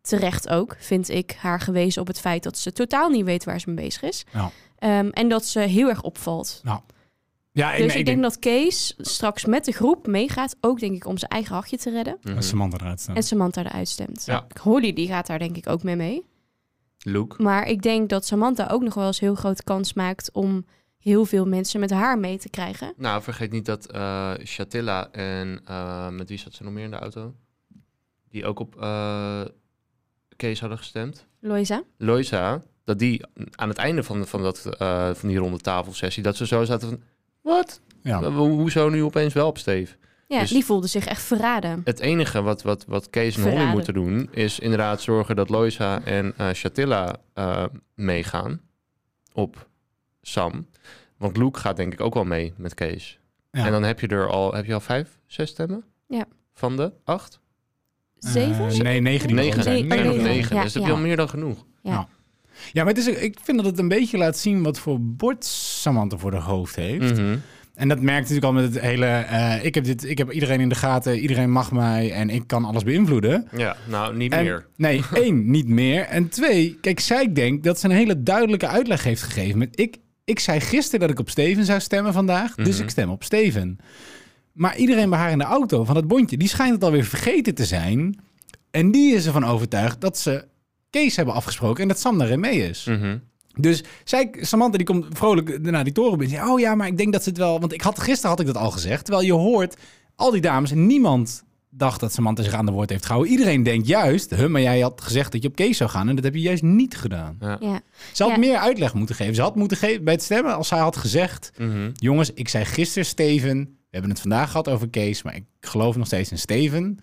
Speaker 1: terecht ook, vind ik, haar gewezen op het feit dat ze totaal niet weet waar ze mee bezig is.
Speaker 2: Ja.
Speaker 1: Ehm, en dat ze heel erg opvalt.
Speaker 2: ja, ik,
Speaker 1: dus
Speaker 2: nee,
Speaker 1: ik denk, dat Kees straks met de groep meegaat, ook denk ik om zijn eigen hachje te redden.
Speaker 3: Mhm.
Speaker 2: dat Samantha eruit staat.
Speaker 1: En Samantha eruit stemt.
Speaker 3: Ja.
Speaker 1: Holly die gaat daar denk ik ook mee mee.
Speaker 3: Luke.
Speaker 1: Maar ik denk dat Samantha ook nog wel eens heel grote kans maakt om heel veel mensen met haar mee te krijgen.
Speaker 3: Nou, vergeet niet dat eh Shatilla en eh, met wie zat ze nog meer in de auto? Die ook op eh, Kees hadden gestemd.
Speaker 1: Loisa?
Speaker 3: Loisa, dat die aan het einde van, van, dat, eh, van die ronde tafelsessie, dat ze zo zaten van, wat?
Speaker 2: Ja.
Speaker 3: Ho- Hoezo nu opeens wel op Steve?
Speaker 1: Ja,
Speaker 3: Dus-
Speaker 1: die voelde zich echt verraden.
Speaker 3: Het enige wat, wat, wat Kees en Holly
Speaker 1: Verraden.
Speaker 3: moeten doen, is inderdaad zorgen dat Loisa en eh Shatilla eh, meegaan op Sam. Want Luke gaat denk ik ook wel mee met Kees.
Speaker 2: Ja.
Speaker 3: En dan heb je er al, heb je al vijf, zes stemmen?
Speaker 1: Ja.
Speaker 3: Van de acht?
Speaker 1: Zeven?
Speaker 2: Eh, nee, negen die
Speaker 3: Negen.
Speaker 2: begonnen zijn.
Speaker 1: Nee, oh,
Speaker 3: Negen
Speaker 1: negen.
Speaker 3: of negen.
Speaker 1: Ja,
Speaker 3: dus dat
Speaker 1: ja.
Speaker 3: heb je al meer dan genoeg.
Speaker 2: Ja, maar het is, ik vind dat het een beetje laat zien wat voor bord Samantha voor de hoofd heeft.
Speaker 3: Mhm.
Speaker 2: En dat merkt natuurlijk al met het hele... eh, ik, heb dit, ik heb iedereen in de gaten, iedereen mag mij en ik kan alles beïnvloeden.
Speaker 3: Ja, nou niet
Speaker 2: En-
Speaker 3: meer.
Speaker 2: Nee, één, niet meer. En twee, kijk, zij denkt dat ze een hele duidelijke uitleg heeft gegeven. Met ik, ik zei gisteren dat ik op Steven zou stemmen vandaag, dus
Speaker 3: Mhm.
Speaker 2: ik stem op Steven. Maar iedereen bij haar in de auto van dat bondje, die schijnt het alweer vergeten te zijn. En die is ervan overtuigd dat ze Kees hebben afgesproken en dat Sam daarin mee is.
Speaker 3: Mhm.
Speaker 2: Dus zij, Samantha die komt vrolijk naar die toren binnen. Oh ja, maar ik denk dat ze het wel... Want ik had, gisteren had ik dat al gezegd. Terwijl je hoort, al die dames, niemand dacht dat Samantha zich aan de woord heeft gehouden. Iedereen denkt juist, huh, maar jij had gezegd dat je op Kees zou gaan. En dat heb je juist niet gedaan.
Speaker 1: Ja.
Speaker 2: Ze had
Speaker 1: Ja.
Speaker 2: meer uitleg moeten geven. Ze had moeten geven bij het stemmen als zij had gezegd...
Speaker 3: Mhm.
Speaker 2: Jongens, ik zei gisteren Steven. We hebben het vandaag gehad over Kees, maar ik geloof nog steeds in Steven.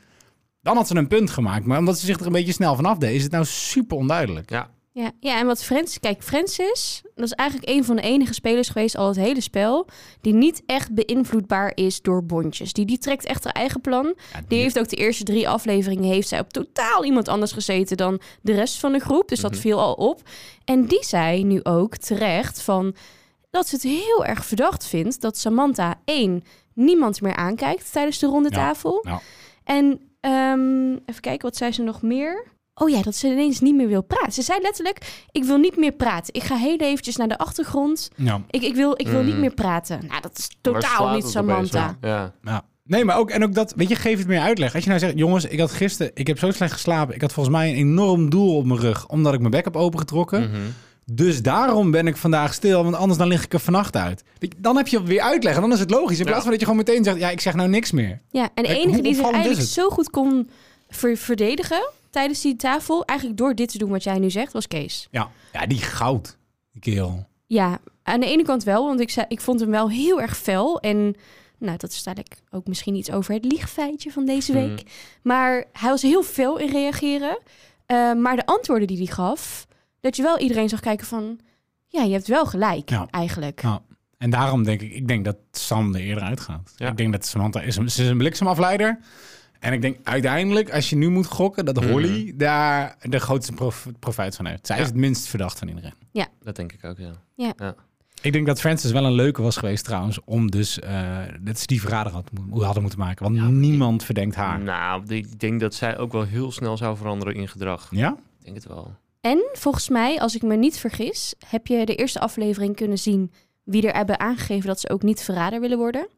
Speaker 2: Dan had ze een punt gemaakt. Maar omdat ze zich er een beetje snel vanaf deed, is het nou super onduidelijk.
Speaker 3: Ja.
Speaker 1: Ja, ja, en wat Frans, kijk, Francis, dat is eigenlijk een van de enige spelers geweest al het hele spel, die niet echt beïnvloedbaar is door bondjes. Die, die trekt echt haar eigen plan.
Speaker 2: Ja,
Speaker 1: Die heeft ook de eerste drie afleveringen heeft zij op totaal iemand anders gezeten dan de rest van de groep. Dus dat
Speaker 3: Mhm.
Speaker 1: viel al op. En die zei nu ook terecht van dat ze het heel erg verdacht vindt dat Samantha één niemand meer aankijkt tijdens de rondetafel.
Speaker 2: Ja, ja.
Speaker 1: En ehm, even kijken, wat zei ze nog meer? Oh ja, dat ze ineens niet meer wil praten. Ze zei letterlijk, ik wil niet meer praten. Ik ga heel eventjes naar de achtergrond.
Speaker 2: ja.
Speaker 1: Ik, ik wil, ik wil niet
Speaker 3: Mm.
Speaker 1: meer praten. Nou, dat is
Speaker 3: Waar
Speaker 1: totaal
Speaker 3: slaat
Speaker 1: niet
Speaker 3: het opeens
Speaker 1: Samantha.
Speaker 3: op? Ja.
Speaker 2: Ja. Nee, maar ook, en ook dat, weet je, geef het meer uitleg. Als je nou zegt, jongens, ik had gisteren, ik heb zo slecht geslapen. Ik had volgens mij een enorm doel op mijn rug, omdat ik mijn bek heb opengetrokken.
Speaker 3: Mhm.
Speaker 2: Dus daarom ben ik vandaag stil, want anders dan lig ik er vannacht uit. Weet je, Dan heb je weer uitleg en dan is het logisch. In
Speaker 3: Ja.
Speaker 2: plaats van dat je gewoon meteen zegt, ja, ik zeg nou niks meer.
Speaker 1: Ja, en de
Speaker 2: Kijk,
Speaker 1: enige
Speaker 2: hoe
Speaker 1: die zich
Speaker 2: opvallend is
Speaker 1: eigenlijk zo goed kon ver- verdedigen tijdens die tafel, eigenlijk door dit te doen wat jij nu zegt, was Kees.
Speaker 2: Ja, ja die goud, die kerel.
Speaker 1: Ja, aan de ene kant wel, want ik, zei, ik vond hem wel heel erg fel. En nou, dat is eigenlijk ook misschien iets over het liegfeitje van deze
Speaker 2: Hmm.
Speaker 1: week.
Speaker 3: Mhm.
Speaker 1: Maar hij was heel fel in reageren. Eh, maar de antwoorden die hij gaf, dat je wel iedereen zag kijken van... Ja, je hebt wel gelijk,
Speaker 2: Ja.
Speaker 1: eigenlijk.
Speaker 2: Ja. En daarom denk ik, ik denk dat Sam er eerder uitgaat.
Speaker 3: Ja.
Speaker 2: Ik denk dat Samantha is een, ze is een bliksemafleider. En ik denk uiteindelijk, als je nu moet gokken, dat Holly daar de grootste prof- profijt van heeft. Zij
Speaker 3: Mm. Ja.
Speaker 2: is het minst verdacht van iedereen.
Speaker 3: Dat denk ik ook, ja.
Speaker 2: Ik denk dat Francis wel een leuke was geweest trouwens, om dus eh dat ze die verrader had, mo- hadden moeten maken. Want niemand verdenkt haar.
Speaker 3: Nou, ik denk dat zij ook wel heel snel zou veranderen in gedrag.
Speaker 2: Ja?
Speaker 3: Ik denk het wel.
Speaker 1: En volgens mij, als ik me niet vergis, heb je de eerste aflevering kunnen zien wie er hebben aangegeven dat ze ook niet verrader willen worden.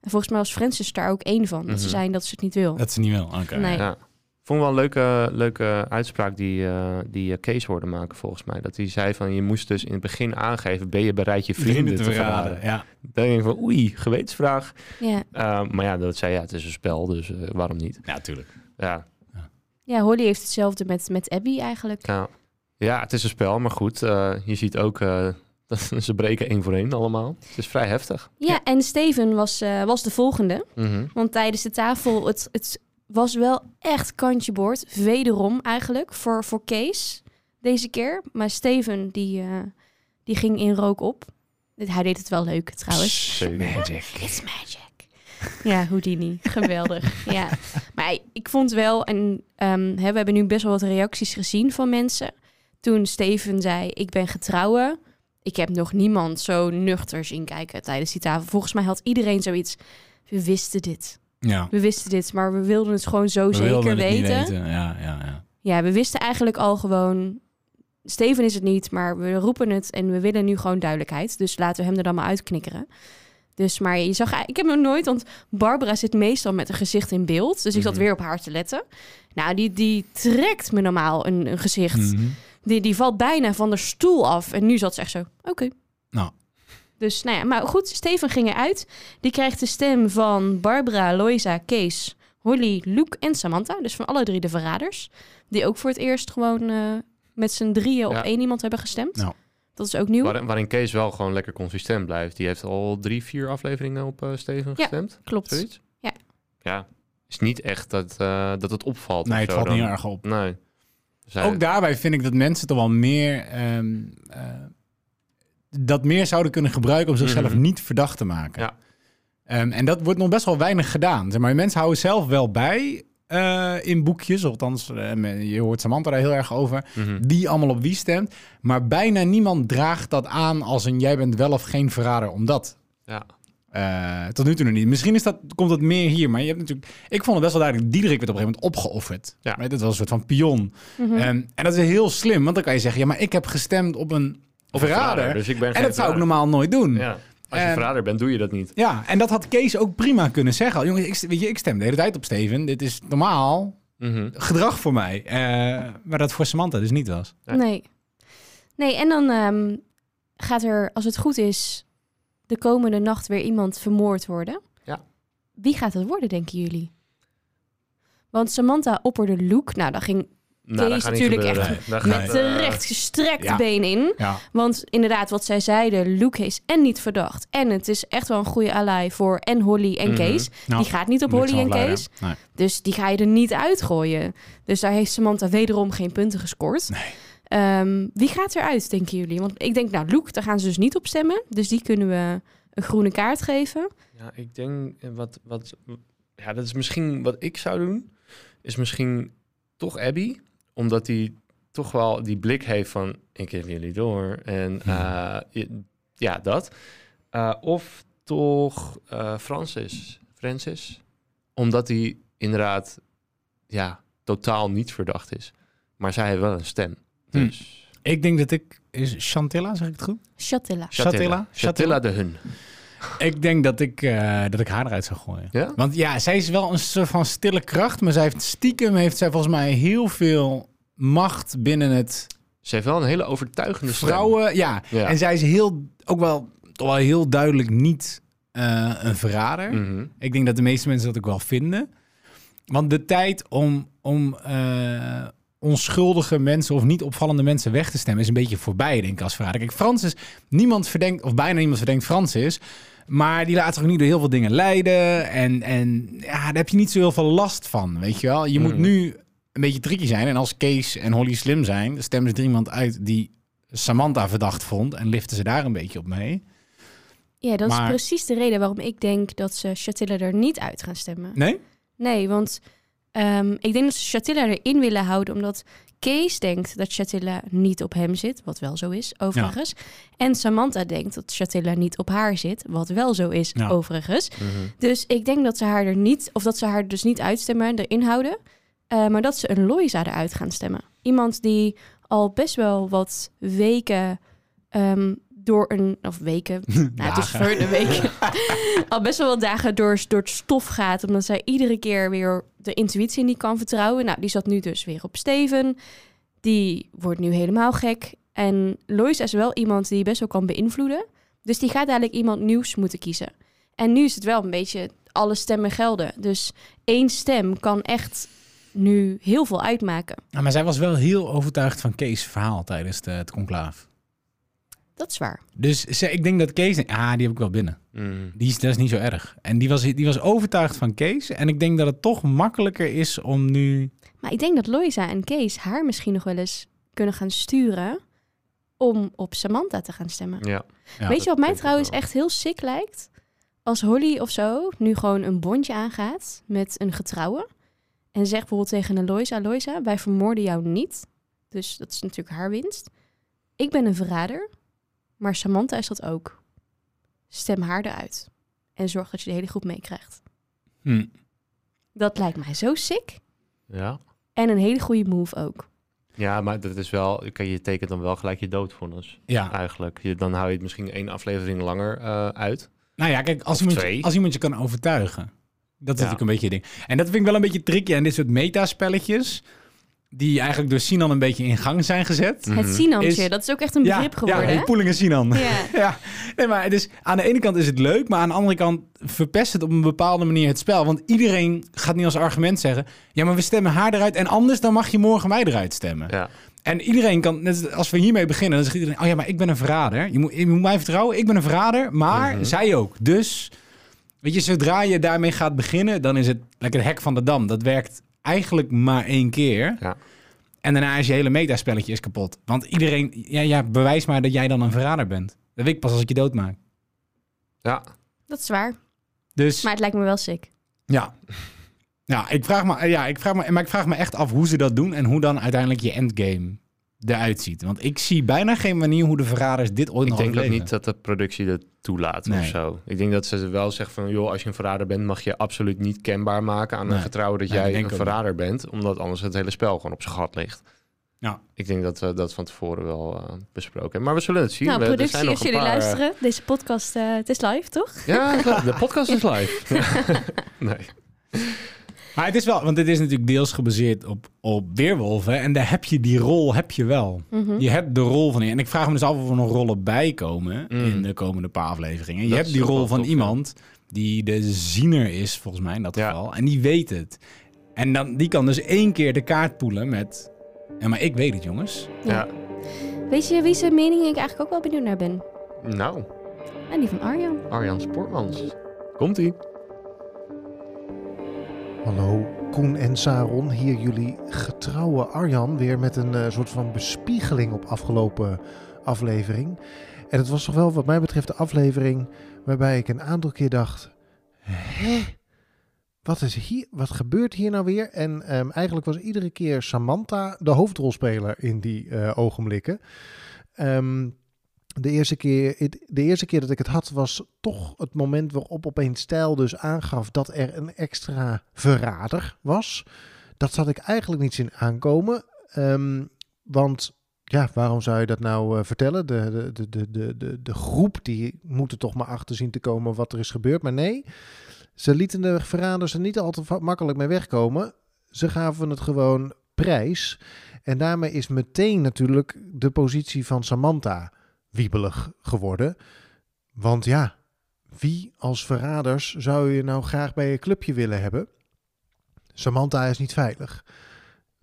Speaker 1: En volgens mij was Francis daar ook één van. Dat ze
Speaker 3: Mhm.
Speaker 1: zijn dat ze het niet wil.
Speaker 2: Dat is niet wel. Oké.
Speaker 1: Nee.
Speaker 3: Ja. Vond ik wel een leuke, leuke uitspraak die, eh die eh, Kees hoorde maken, volgens mij. Dat hij zei van, je moest dus in het begin aangeven, ben je bereid je vrienden te verraden?
Speaker 2: Ja.
Speaker 3: Dan denk ik van, oei, gewetensvraag.
Speaker 1: Ja.
Speaker 3: Eh, maar ja, dat zei ja, het is een spel, dus eh, waarom niet?
Speaker 2: Ja, tuurlijk.
Speaker 3: Ja,
Speaker 1: ja, Holly heeft hetzelfde met, met Abby eigenlijk.
Speaker 3: ja. ja, het is een spel, maar goed, eh, je ziet ook eh, dat ze breken één voor één allemaal. Het is vrij heftig.
Speaker 1: Ja, en Steven was, eh, was de volgende.
Speaker 3: Mhm.
Speaker 1: Want tijdens de tafel, het, het was wel echt kantje boord. Wederom eigenlijk, voor, voor Kees deze keer. Maar Steven, die, eh, die ging in rook op. Hij deed het wel leuk trouwens. It's magic. Ja, Houdini. Geweldig. ja. Maar ik vond wel, en ehm, hè, we hebben nu best wel wat reacties gezien van mensen. Toen Steven zei, ik ben getrouwen. Ik heb nog niemand zo nuchter zien kijken tijdens die tafel. Volgens mij had iedereen zoiets. We wisten dit.
Speaker 2: Ja.
Speaker 1: We wisten dit, maar we wilden het gewoon zo
Speaker 2: We wilden
Speaker 1: zeker
Speaker 2: het niet
Speaker 1: weten.
Speaker 2: Ja, ja, ja.
Speaker 1: Ja, we wisten eigenlijk al gewoon... Steven is het niet, maar we roepen het en we willen nu gewoon duidelijkheid. Dus laten we hem er dan maar uitknikkeren. Dus maar je zag, ik heb nog nooit, want Barbara zit meestal met een gezicht in beeld. Dus ik zat
Speaker 3: Mhm.
Speaker 1: weer op haar te letten. Nou, die, die trekt me normaal een, een gezicht.
Speaker 2: Mhm.
Speaker 1: Die, die valt bijna van de stoel af. En nu zat ze echt zo, oké.
Speaker 2: Nou.
Speaker 1: Dus nou ja, maar goed, Steven ging eruit. Die krijgt de stem van Barbara, Loisa, Kees, Holly, Luke en Samantha. Dus van alle drie de verraders. Die ook voor het eerst gewoon eh, met z'n drieën op
Speaker 3: Ja.
Speaker 1: één iemand hebben gestemd.
Speaker 2: Nou.
Speaker 1: Dat is ook nieuw.
Speaker 3: Waarin, waarin Kees wel gewoon lekker consistent blijft. Die heeft al drie, vier afleveringen op eh, Steven
Speaker 1: Ja.
Speaker 3: gestemd.
Speaker 1: Klopt.
Speaker 3: Zoiets?
Speaker 1: Ja.
Speaker 3: Ja. Is niet echt dat, eh, dat het opvalt.
Speaker 2: Nee,
Speaker 3: of
Speaker 2: het
Speaker 3: zo
Speaker 2: valt
Speaker 3: dan.
Speaker 2: niet erg op.
Speaker 3: Nee. Dus Zij-
Speaker 2: Ook daarbij vind ik dat mensen toch wel meer... ehm, eh, dat meer zouden kunnen gebruiken om zichzelf
Speaker 3: Mhm.
Speaker 2: niet verdacht te maken.
Speaker 3: Ja.
Speaker 2: Ehm, en dat wordt nog best wel weinig gedaan. Zeg maar mensen houden zelf wel bij eh, in boekjes. Althans, eh, men- je hoort Samantha daar heel erg over.
Speaker 3: Mhm.
Speaker 2: Wie allemaal op wie stemt. Maar bijna niemand draagt dat aan als een jij bent wel of geen verrader. Omdat...
Speaker 3: Ja.
Speaker 2: Eh, tot nu toe nog niet. Misschien is dat, komt dat meer hier. Maar je hebt natuurlijk... Ik vond het best wel duidelijk. Diederik werd op een gegeven moment opgeofferd.
Speaker 3: Ja.
Speaker 2: Maar dat was een soort van pion.
Speaker 1: Mhm.
Speaker 2: En, en dat is heel slim, want dan kan je zeggen: ja, maar ik heb gestemd op een
Speaker 3: Of een
Speaker 2: verrader.
Speaker 3: Dus ik ben
Speaker 2: en
Speaker 3: geen
Speaker 2: dat zou ik
Speaker 3: verrader.
Speaker 2: normaal nooit doen. Ja.
Speaker 3: Ja. Als je
Speaker 1: Ehm,
Speaker 2: En-
Speaker 3: verrader bent, doe je dat niet.
Speaker 2: en dat had Kees ook prima kunnen zeggen. Jongens, ik, weet je, ik stem de hele tijd op Steven. Dit is normaal
Speaker 3: Mhm.
Speaker 2: gedrag voor mij. Eh, maar dat voor Samantha dus niet was.
Speaker 3: Ja.
Speaker 1: Nee. Nee, en dan ehm, gaat er, als het goed is, de komende nacht weer iemand vermoord worden.
Speaker 3: Ja.
Speaker 1: Wie gaat dat worden, denken jullie? Want Samantha opperde Luke. Nou, daar ging
Speaker 3: Nou,
Speaker 1: Kees
Speaker 3: dat gaat niet
Speaker 1: natuurlijk
Speaker 3: gebeuren.
Speaker 2: echt
Speaker 3: Nee, dat
Speaker 1: met
Speaker 3: gaat, eh,
Speaker 1: terecht gestrekt
Speaker 2: ja.
Speaker 1: been in.
Speaker 2: Ja,
Speaker 1: Want inderdaad, wat zij zeiden, Luke is en niet verdacht. En het is echt wel een goede ally voor en Holly en
Speaker 3: Mhm.
Speaker 1: Kees.
Speaker 2: Nou,
Speaker 1: die gaat niet op Holly en Kees.
Speaker 2: Nee.
Speaker 1: Dus die ga je er niet uitgooien. Dus daar heeft Samantha wederom geen punten gescoord.
Speaker 2: Nee.
Speaker 1: Ehm, wie gaat eruit, denken jullie? Want ik denk, nou, Luke, daar gaan ze dus niet op stemmen. Dus die kunnen we een groene kaart geven.
Speaker 3: Ja, ik denk eh, wat, wat. Ja, dat is misschien wat ik zou doen. Is misschien toch Abby. Omdat hij toch wel die blik heeft van: ik heb jullie door. En eh, je- ja, dat. Eh, of toch eh, Francis. Francis. Omdat hij inderdaad ja, totaal niet verdacht is. Maar zij heeft wel een stem.
Speaker 2: Hmm.
Speaker 3: Dus
Speaker 2: Ik denk dat ik... Is Chantilla, zeg ik het goed?
Speaker 1: Chatilla.
Speaker 2: Chatilla?
Speaker 3: Chatilla de Hun.
Speaker 2: Ik denk dat ik, eh, dat ik haar eruit zou gooien.
Speaker 3: Ja?
Speaker 2: Want ja, zij is wel een soort van stille kracht, maar zij heeft stiekem heeft zij volgens mij heel veel macht binnen het
Speaker 3: Ze heeft wel een hele overtuigende stem.
Speaker 2: vrouwen. Ja.
Speaker 3: Ja.
Speaker 2: en zij is heel ook wel toch wel heel duidelijk niet eh, een verrader.
Speaker 3: Mhm.
Speaker 2: Ik denk dat de meeste mensen dat ook wel vinden. Want de tijd om, om eh, onschuldige mensen of niet opvallende mensen weg te stemmen is een beetje voorbij, denk ik, als verrader. Kijk, Francis, niemand verdenkt, of bijna niemand verdenkt Francis. Maar die laat zich ook niet door heel veel dingen leiden. En, en ja, daar heb je niet zo heel veel last van, weet je wel. Je moet
Speaker 3: Mhm.
Speaker 2: nu een beetje tricky zijn. En als Kees en Holly slim zijn, dan stemmen ze er iemand uit die Samantha verdacht vond. En liften ze daar een beetje op mee.
Speaker 1: Ja, dat
Speaker 2: Maar-
Speaker 1: is precies de reden waarom ik denk dat ze Chatilla er niet uit gaan stemmen.
Speaker 2: Nee?
Speaker 1: Nee, want ehm, ik denk dat ze Chatilla erin willen houden, omdat Kees denkt dat Chatilla niet op hem zit, wat wel zo is, overigens. En Samantha denkt dat Chatilla niet op haar zit, wat wel zo is,
Speaker 2: Ja.
Speaker 1: overigens.
Speaker 3: Mhm.
Speaker 1: Dus ik denk dat ze haar er niet, of dat ze haar dus niet uitstemmen, erin houden. eh, maar dat ze een Loisa eruit gaan stemmen. Iemand die al best wel wat weken ehm, door een, of weken, nou, het is
Speaker 2: Dagen.
Speaker 1: voor de weken, al best wel wat dagen door, door het stof gaat. Omdat zij iedere keer weer de intuïtie niet kan vertrouwen. Nou, die zat nu dus weer op Steven. Die wordt nu helemaal gek. En Loisa is wel iemand die best wel kan beïnvloeden. Dus die gaat dadelijk iemand nieuws moeten kiezen. En nu is het wel een beetje alle stemmen gelden. Dus één stem kan echt nu heel veel uitmaken.
Speaker 2: Nou, maar zij was wel heel overtuigd van Kees' verhaal tijdens de, het conclaaf.
Speaker 1: Dat is waar.
Speaker 2: Dus ze, ik denk dat Kees... denkt, Ah, die heb ik wel binnen.
Speaker 3: Mhm.
Speaker 2: Die is, dat is niet zo erg. En die was, die was overtuigd van Kees. En ik denk dat het toch makkelijker is om nu...
Speaker 1: Maar ik denk dat Loisa en Kees haar misschien nog wel eens kunnen gaan sturen om op Samantha te gaan stemmen.
Speaker 3: Ja.
Speaker 2: Ja,
Speaker 1: Weet je wat
Speaker 3: denk
Speaker 1: mij
Speaker 3: ik
Speaker 1: trouwens
Speaker 3: wel.
Speaker 1: echt heel sick lijkt? Als Holly of zo nu gewoon een bondje aangaat met een getrouwe. En zegt bijvoorbeeld tegen een Loisa, Loisa, wij vermoorden jou niet. Dus dat is natuurlijk haar winst. Ik ben een verrader, maar Samantha is dat ook. Stem haar eruit. En zorg dat je de hele groep meekrijgt.
Speaker 2: Hm.
Speaker 3: Hmm.
Speaker 1: Dat lijkt mij zo sick.
Speaker 3: Ja.
Speaker 1: En een hele goede move ook.
Speaker 3: Ja, maar dat is wel, kijk, je tekent dan wel gelijk je doodvonnis.
Speaker 2: ja.
Speaker 3: Eigenlijk. Je, dan hou je het misschien één aflevering langer eh, uit.
Speaker 2: Nou ja, kijk, als
Speaker 3: Of
Speaker 2: iemand, je,
Speaker 3: twee.
Speaker 2: als iemand je kan overtuigen. Dat is
Speaker 3: Ja.
Speaker 2: natuurlijk een beetje het ding. En dat vind ik wel een beetje tricky. En dit soort metaspelletjes... die eigenlijk door Sinan een beetje in gang zijn gezet.
Speaker 3: Mhm.
Speaker 1: Het Sinantje,
Speaker 2: Is-
Speaker 1: dat is ook echt een
Speaker 2: ja,
Speaker 1: begrip geworden.
Speaker 2: ja,
Speaker 1: hè?
Speaker 2: die Poeling en Sinan.
Speaker 1: Ja.
Speaker 2: Ja, nee, maar dus aan de ene kant is het leuk, maar aan de andere kant verpest het op een bepaalde manier het spel. Want iedereen gaat nu als argument zeggen: ja, maar we stemmen haar eruit en anders dan mag je morgen mij eruit stemmen.
Speaker 3: Ja.
Speaker 2: En iedereen kan, net als- als we hiermee beginnen, dan zegt iedereen: oh ja, maar ik ben een verrader. Je moet, je moet mij vertrouwen, ik ben een verrader, maar
Speaker 3: Mhm.
Speaker 2: zij ook. Dus weet je, zodra je daarmee gaat beginnen, dan is het lekker het hek van de dam. Dat werkt eigenlijk maar één keer.
Speaker 3: Ja.
Speaker 2: En daarna is je hele metaspelletje is kapot. Want iedereen, ja, ja, bewijs maar dat jij dan een verrader bent. Dat weet ik pas als ik je doodmaak.
Speaker 3: Ja.
Speaker 1: Dat is waar.
Speaker 2: Dus
Speaker 1: Maar het lijkt me wel sick.
Speaker 2: ja. Ja, ik vraag me, ja ik vraag me, maar ik vraag me echt af hoe ze dat doen en hoe dan uiteindelijk je endgame eruit ziet. Want ik zie bijna geen manier hoe de verraders dit ooit
Speaker 3: Ik
Speaker 2: nog
Speaker 3: denk ook
Speaker 2: overleven.
Speaker 3: niet dat de productie dat toelaat
Speaker 2: Nee.
Speaker 3: of zo. Ik denk dat ze wel zeggen van, joh, als je een verrader bent, mag je absoluut niet kenbaar maken aan
Speaker 2: Nee.
Speaker 3: een getrouwe dat
Speaker 2: Nee, ik
Speaker 3: jij
Speaker 2: denk
Speaker 3: een
Speaker 2: ook niet.
Speaker 3: verrader bent. Omdat anders het hele spel gewoon op zijn gat ligt.
Speaker 2: Ja.
Speaker 3: Ik denk dat we dat van tevoren wel eh, besproken hebben. Maar we zullen het zien.
Speaker 1: Nou,
Speaker 3: We- er
Speaker 1: productie,
Speaker 3: zijn nog
Speaker 1: als
Speaker 3: een
Speaker 1: jullie
Speaker 3: paar, eh,
Speaker 1: luisteren, deze podcast, eh, het is live, toch?
Speaker 3: Ja, klopt. de podcast is live. nee.
Speaker 2: Maar het is wel, want het is natuurlijk deels gebaseerd op, op weerwolven. En daar heb je die rol, heb je wel. Je hebt de rol van... En ik vraag me dus af of er nog rollen bij komen
Speaker 3: Mm.
Speaker 2: in de komende paar afleveringen. Je
Speaker 3: Dat
Speaker 2: hebt
Speaker 3: is
Speaker 2: die
Speaker 3: ook wel
Speaker 2: rol van
Speaker 3: tof, ja.
Speaker 2: iemand die de ziener is, volgens mij in dat
Speaker 3: Ja.
Speaker 2: geval. En die weet het. En dan, die kan dus één keer de kaart poelen met... Ja, maar ik weet het, jongens.
Speaker 3: Ja.
Speaker 1: Weet je wie zijn mening ik eigenlijk ook wel benieuwd naar ben?
Speaker 3: Nou,
Speaker 1: En die van Arjan.
Speaker 3: Arjan Sportmans. Komt-ie.
Speaker 4: Hallo, Koen en Saron. Hier jullie getrouwe Arjan weer met een eh, soort van bespiegeling op afgelopen aflevering. En het was toch wel wat mij betreft de aflevering waarbij ik een aantal keer dacht... Hè? Wat, is hier, wat gebeurt hier nou weer? En ehm, eigenlijk was iedere keer Samantha de hoofdrolspeler in die eh, ogenblikken. Ehm, de eerste, keer, het- de eerste keer dat ik het had, was toch het moment waarop opeens Stijl dus aangaf dat er een extra verrader was. Dat had ik eigenlijk niet zien aankomen. Ehm, want ja, waarom zou je dat nou eh, vertellen? De, de- de, de, de, de, de groep die moet er toch maar achter zien te komen wat er is gebeurd. Maar nee, ze lieten de verraders er niet al te va- makkelijk mee wegkomen. Ze gaven het gewoon prijs. En daarmee is meteen natuurlijk de positie van Samantha wiebelig geworden. Want ja, wie als verraders zou je nou graag bij je clubje willen hebben? Samantha is niet veilig.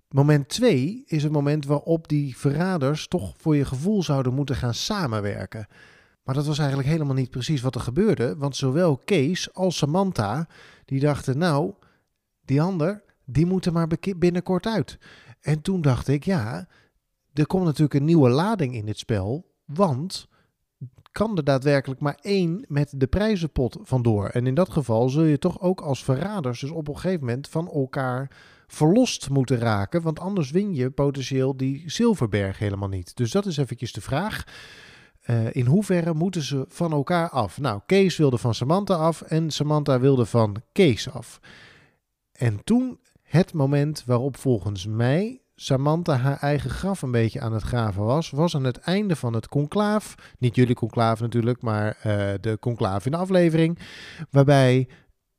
Speaker 4: Moment 2 is het moment waarop die verraders toch voor je gevoel zouden moeten gaan samenwerken. Maar dat was eigenlijk helemaal niet precies wat er gebeurde, want zowel Kees als Samantha die dachten nou, die ander, die moet er maar beke- binnenkort uit. En toen dacht ik, ja, er komt natuurlijk een nieuwe lading in dit spel. Want kan er daadwerkelijk maar één met de prijzenpot vandoor. En in dat geval zul je toch ook als verraders dus op een gegeven moment van elkaar verlost moeten raken. Want anders win je potentieel die zilverberg helemaal niet. Dus dat is eventjes de vraag. Eh, in hoeverre moeten ze van elkaar af? Nou, Kees wilde van Samantha af en Samantha wilde van Kees af. En toen het moment waarop volgens mij Samantha haar eigen graf een beetje aan het graven was, was aan het einde van het conclaaf. Niet jullie conclaaf natuurlijk, maar eh, de conclaaf in de aflevering. Waarbij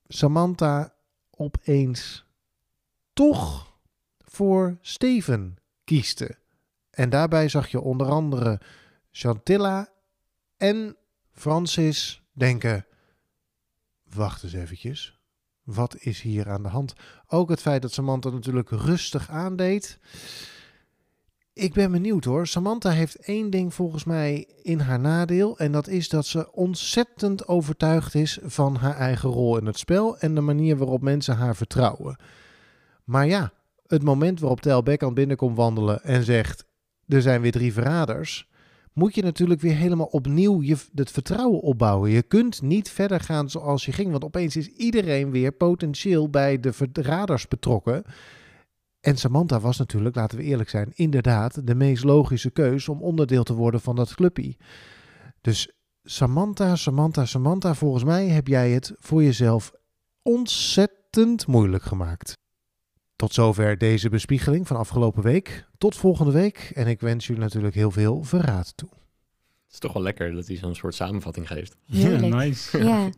Speaker 4: Samantha opeens toch voor Steven kieste. En daarbij zag je onder andere Chantilla en Francis denken... Wacht eens eventjes. Wat is hier aan de hand? Ook het feit dat Samantha natuurlijk rustig aandeed. Ik ben benieuwd hoor. Samantha heeft één ding volgens mij in haar nadeel. En dat is dat ze ontzettend overtuigd is van haar eigen rol in het spel. En de manier waarop mensen haar vertrouwen. Maar ja, het moment waarop Tel Beckham binnenkomt wandelen en zegt... Er zijn weer drie verraders. Moet je natuurlijk weer helemaal opnieuw je, het vertrouwen opbouwen. Je kunt niet verder gaan zoals je ging. Want opeens is iedereen weer potentieel bij de verraders betrokken. En Samantha was natuurlijk, laten we eerlijk zijn, inderdaad de meest logische keus om onderdeel te worden van dat clubje. Dus Samantha, Samantha, Samantha, volgens mij heb jij het voor jezelf ontzettend moeilijk gemaakt. Tot zover deze bespiegeling van afgelopen week. Tot volgende week en ik wens jullie natuurlijk heel veel verraad toe.
Speaker 3: Het is toch wel lekker dat hij zo'n soort samenvatting geeft.
Speaker 1: Heerlijk.
Speaker 2: Ja, nice.
Speaker 1: Ja,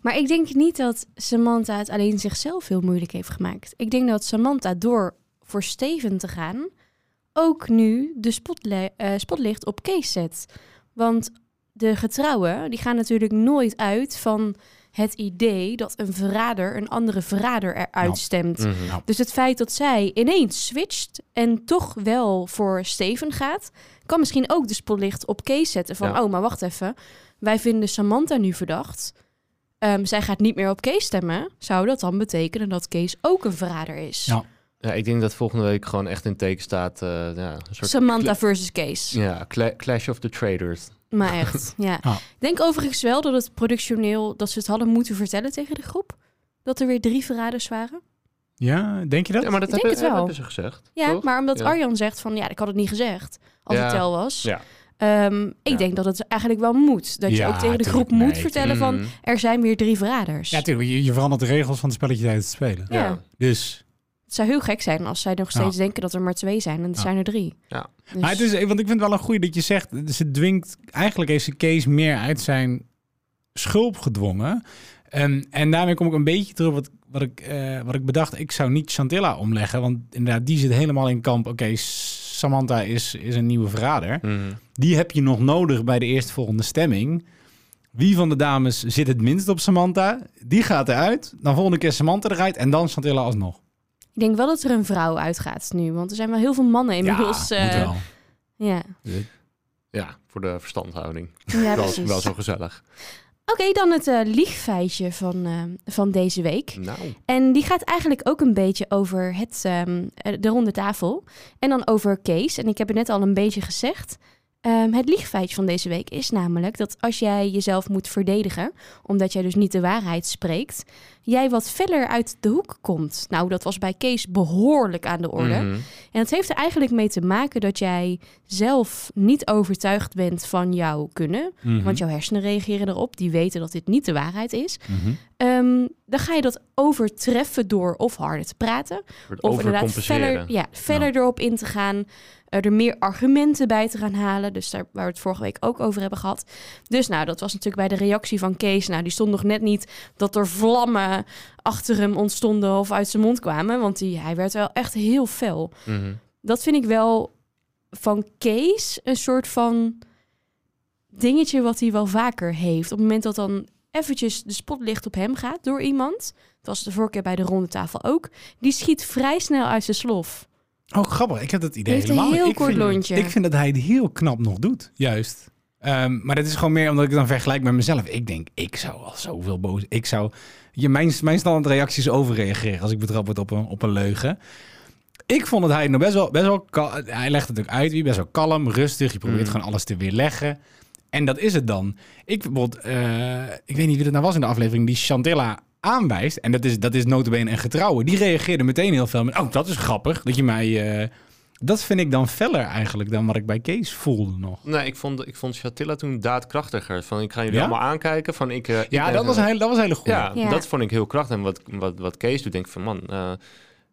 Speaker 1: maar ik denk niet dat Samantha het alleen zichzelf heel moeilijk heeft gemaakt. Ik denk dat Samantha door voor Steven te gaan ook nu de spotle- eh, spotlicht op Kees zet. Want de getrouwen die gaan natuurlijk nooit uit van het idee dat een verrader een andere verrader eruit
Speaker 2: Nou,
Speaker 1: stemt.
Speaker 3: Mhm.
Speaker 1: Dus het feit dat zij ineens switcht en toch wel voor Steven gaat, kan misschien ook de spotlicht op Kees zetten. Van,
Speaker 3: Ja.
Speaker 1: oh, maar wacht even. Wij vinden Samantha nu verdacht. Ehm, zij gaat niet meer op Kees stemmen. Zou dat dan betekenen dat Kees ook een verrader is?
Speaker 2: Ja.
Speaker 3: Ja, ik denk dat volgende week gewoon echt in teken staat. eh, ja, een soort
Speaker 1: Samantha versus Kees.
Speaker 3: ja, cla- Clash of the Traders.
Speaker 1: Maar echt, ja.
Speaker 2: Ja.
Speaker 1: Ik denk overigens wel dat het productioneel, dat ze het hadden moeten vertellen tegen de groep. Dat er weer drie verraders waren.
Speaker 2: ja, denk je dat?
Speaker 3: Ja, maar dat
Speaker 1: Ik denk het
Speaker 3: hebben,
Speaker 1: wel.
Speaker 3: hebben ze gezegd.
Speaker 1: Ja,
Speaker 3: toch?
Speaker 1: maar omdat
Speaker 3: Ja.
Speaker 1: Arjan zegt van, ja, ik had het niet gezegd als
Speaker 3: Ja.
Speaker 1: het tel was.
Speaker 3: Ja.
Speaker 1: Ehm, ik
Speaker 3: Ja.
Speaker 1: denk dat het eigenlijk wel moet. Dat je
Speaker 2: Ja,
Speaker 1: ook tegen de groep
Speaker 2: tuurlijk,
Speaker 1: moet
Speaker 2: nee,
Speaker 1: vertellen van...
Speaker 3: Mhm.
Speaker 1: er zijn weer drie verraders.
Speaker 2: Ja, tuurlijk. Je, je verandert de regels van het spelletje tijdens het spelen.
Speaker 1: Ja.
Speaker 3: Ja.
Speaker 2: Dus
Speaker 1: het zou heel gek zijn als zij nog steeds denken dat er maar twee zijn. En het
Speaker 2: Ja.
Speaker 1: zijn er drie.
Speaker 3: Ja.
Speaker 1: Dus-
Speaker 2: Maar het is, eh, want ik vind het wel een goeie dat je zegt, ze dwingt, eigenlijk heeft ze Kees meer uit zijn schulp gedwongen. En, en daarmee kom ik een beetje terug wat, wat, ik, eh, wat ik bedacht, ik zou niet Chantilla omleggen, want inderdaad, die zit helemaal in kamp. Oké, Samantha is, is een nieuwe verrader.
Speaker 3: Mhm.
Speaker 2: Die heb je nog nodig bij de eerstvolgende stemming. Wie van de dames zit het minst op Samantha? Die gaat eruit. Dan volgende keer Samantha eruit en dan Chantilla alsnog.
Speaker 1: Ik denk wel dat er een vrouw uitgaat nu. Want er zijn wel heel veel mannen inmiddels.
Speaker 2: ja, moet
Speaker 1: eh,
Speaker 2: wel.
Speaker 1: ja.
Speaker 3: Ja, voor de verstandhouding.
Speaker 1: ja
Speaker 3: wel,
Speaker 1: precies.
Speaker 3: wel zo gezellig.
Speaker 1: Oké, dan het eh, liegfeitje van, eh, van deze week.
Speaker 3: Nou,
Speaker 1: En die gaat eigenlijk ook een beetje over het, ehm, eh, de ronde tafel. En dan over Kees. En ik heb het net al een beetje gezegd. Ehm, het liegfeitje van deze week is namelijk dat als jij jezelf moet verdedigen, omdat jij dus niet de waarheid spreekt, jij wat verder uit de hoek komt. Nou, dat was bij Kees behoorlijk aan de orde.
Speaker 3: mhm.
Speaker 1: En dat heeft er eigenlijk mee te maken dat jij zelf niet overtuigd bent van jouw kunnen. Want jouw hersenen reageren erop, die weten dat dit niet de waarheid is.
Speaker 2: Mhm.
Speaker 1: Ehm, dan ga je dat overtreffen door of harder te praten.
Speaker 3: Wordt
Speaker 1: Of inderdaad
Speaker 3: overcompenseren.
Speaker 1: verder, ja, verder
Speaker 2: Ja.
Speaker 1: erop in te gaan. Er meer argumenten bij te gaan halen. Dus daar waar we het vorige week ook over hebben gehad. Dus nou, dat was natuurlijk bij de reactie van Kees. Nou, die stond nog net niet dat er vlammen achter hem ontstonden of uit zijn mond kwamen. Want die, hij werd wel echt heel fel.
Speaker 3: Mhm.
Speaker 1: Dat vind ik wel van Kees een soort van dingetje wat hij wel vaker heeft. Op het moment dat dan eventjes de spotlicht op hem gaat door iemand. Dat was de vorige keer bij de ronde tafel ook. Die schiet vrij snel uit zijn slof.
Speaker 2: Oh, grappig. Ik heb dat idee
Speaker 1: Hij heeft een
Speaker 2: helemaal niet.
Speaker 1: heel
Speaker 2: ik
Speaker 1: kort
Speaker 2: vind,
Speaker 1: lontje.
Speaker 2: Ik vind dat hij het heel knap nog doet. Juist. Ehm, maar dat is gewoon meer omdat ik het dan vergelijk met mezelf. Ik denk, ik zou al zoveel boos... Ik zou... Je, mijn, mijn standaard reactie is overreageren als ik betrapt word op een, op een leugen. Ik vond dat hij het nog best wel... Best wel kal- hij legt het ook uit. Wie best wel kalm, rustig. Je probeert
Speaker 3: Mm.
Speaker 2: gewoon alles te weerleggen. En dat is het dan. Ik bijvoorbeeld... eh, ik weet niet wie dat nou was in de aflevering. Die Chantilla aanwijst. En dat is, dat is notabene een getrouwe. Die reageerde meteen heel veel met... Oh, dat is grappig. Dat je mij... eh, dat vind ik dan feller eigenlijk dan wat ik bij Kees voelde nog.
Speaker 3: Nee, ik vond, ik vond Chatilla toen daadkrachtiger. Van, ik ga jullie
Speaker 2: Ja?
Speaker 3: allemaal aankijken. Van, ik, eh, ik
Speaker 2: Ja,
Speaker 3: ben-
Speaker 2: dat was een hele, dat was een hele goede.
Speaker 3: Ja,
Speaker 1: Ja.
Speaker 3: dat vond ik heel krachtig. En wat, wat, wat Kees doet, denk ik van man, eh,